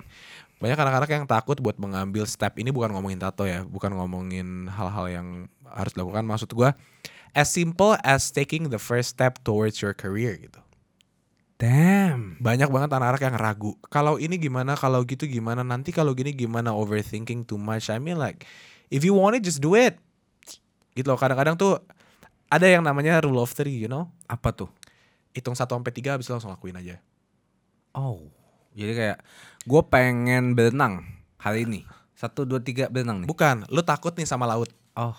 B: Banyak anak-anak yang takut buat mengambil step ini bukan ngomongin tato ya, bukan ngomongin hal-hal yang harus dilakukan. Maksud gua as simple as taking the first step towards your career gitu
A: Damn.
B: banyak banget anak-anak yang ragu. Kalau ini gimana, kalau gitu gimana, nanti kalau gini gimana, overthinking too much. I mean like, if you want it, just do it. Gitu loh, kadang-kadang tuh ada yang namanya rule of three, you know.
A: Apa tuh?
B: Hitung 1 sampai 3 habis itu langsung lakuin aja.
A: Oh. Jadi kayak gue pengen berenang hari ini. Satu, dua, tiga berenang nih.
B: Bukan, lu takut nih sama laut,
A: Oh.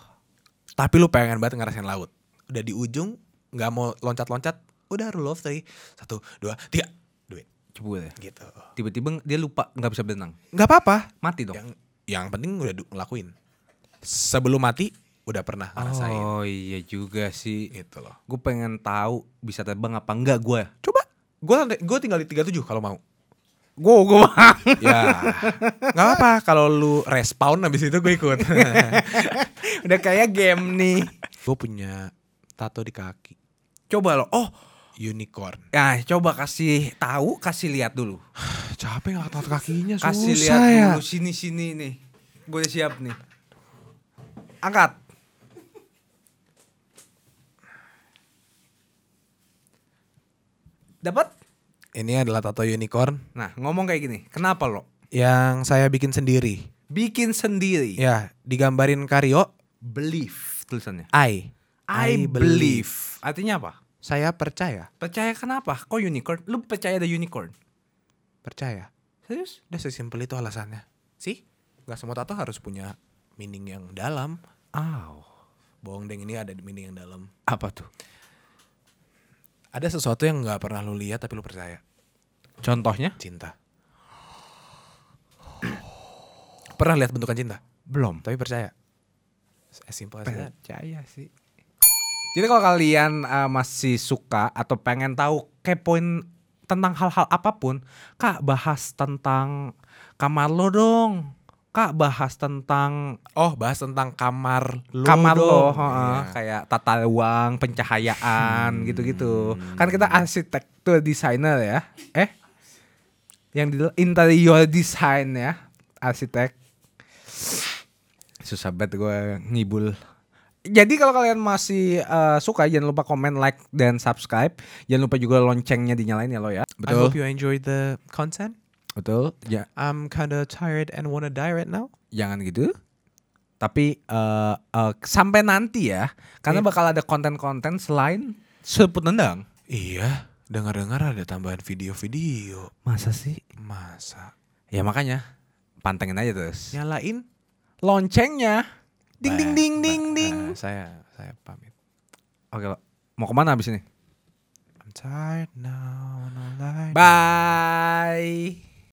B: tapi lu pengen banget ngerasain laut. Udah di ujung, nggak mau loncat-loncat, udah rule of three. Satu, dua, tiga, do it.
A: Coba ya.
B: Gitu.
A: Tiba-tiba dia lupa nggak bisa berenang.
B: Nggak apa-apa.
A: Mati dong.
B: Yang yang penting udah du- ngelakuin. Sebelum mati, udah pernah ngerasain.
A: Oh iya juga sih.
B: Gitu loh.
A: Gue pengen tahu bisa terbang apa enggak gue.
B: Coba. Gue gue tinggal di 37 kalau mau.
A: Gue gue
B: Ya. Gak apa kalau lu respawn habis itu gue ikut.
A: udah kayak game nih.
B: gue punya tato di kaki
A: Coba lo. Oh,
B: unicorn.
A: ya coba kasih tahu, kasih lihat dulu.
B: capek ngangkat kakinya susah
A: Kasih lihat
B: ya.
A: dulu sini sini nih. Boleh siap nih. Angkat. Dapat?
B: Ini adalah tato unicorn
A: Nah, ngomong kayak gini. Kenapa lo?
B: yang saya bikin sendiri.
A: Bikin sendiri.
B: Ya, digambarin Karyo
A: Believe tulisannya.
B: I.
A: I, believe. Artinya apa?
B: Saya percaya.
A: Percaya kenapa? Kok unicorn? Lu percaya ada unicorn?
B: Percaya.
A: Serius?
B: Udah sesimpel itu alasannya. Sih? Gak semua tato harus punya meaning yang dalam.
A: Aw.
B: Bohong deng ini ada di meaning yang dalam.
A: Apa tuh?
B: Ada sesuatu yang gak pernah lu lihat tapi lu percaya.
A: Contohnya?
B: Cinta. pernah lihat bentukan cinta?
A: Belum.
B: Tapi percaya. As simple as that.
A: Percaya sih. Jadi kalau kalian uh, masih suka atau pengen tahu kepoin tentang hal-hal apapun, Kak bahas tentang kamar lo dong. Kak bahas tentang
B: Oh, bahas tentang kamar lu
A: kamar lo,
B: dong.
A: heeh,
B: Iya.
A: kayak tata ruang, pencahayaan gitu-gitu. Kan kita arsitektur desainer ya. Eh? Yang di interior design ya, arsitek. Susah banget gue ngibul. Jadi kalau kalian masih eh, suka jangan lupa komen, like dan subscribe. Jangan lupa juga loncengnya dinyalain ya lo ya.
B: I hope you enjoyed the content.
A: Betul. Ja-
B: I'm kinda tired and wanna die right now.
A: jangan gitu. Tapi eh, eh, sampai nanti ya, karena bakal ada konten-konten selain sebut nendang.
B: Iya, dengar-dengar ada tambahan video-video.
A: Masa sih?
B: Masa?
A: Ya makanya pantengin aja
B: Ya.
A: terus.
B: Nyalain?
A: Loncengnya, ding ding ding ding ding.
B: Nah, saya saya pamit.
A: Oke, Lo. mau kemana abis ini?
B: I'm tired now. and all I-
A: Bye.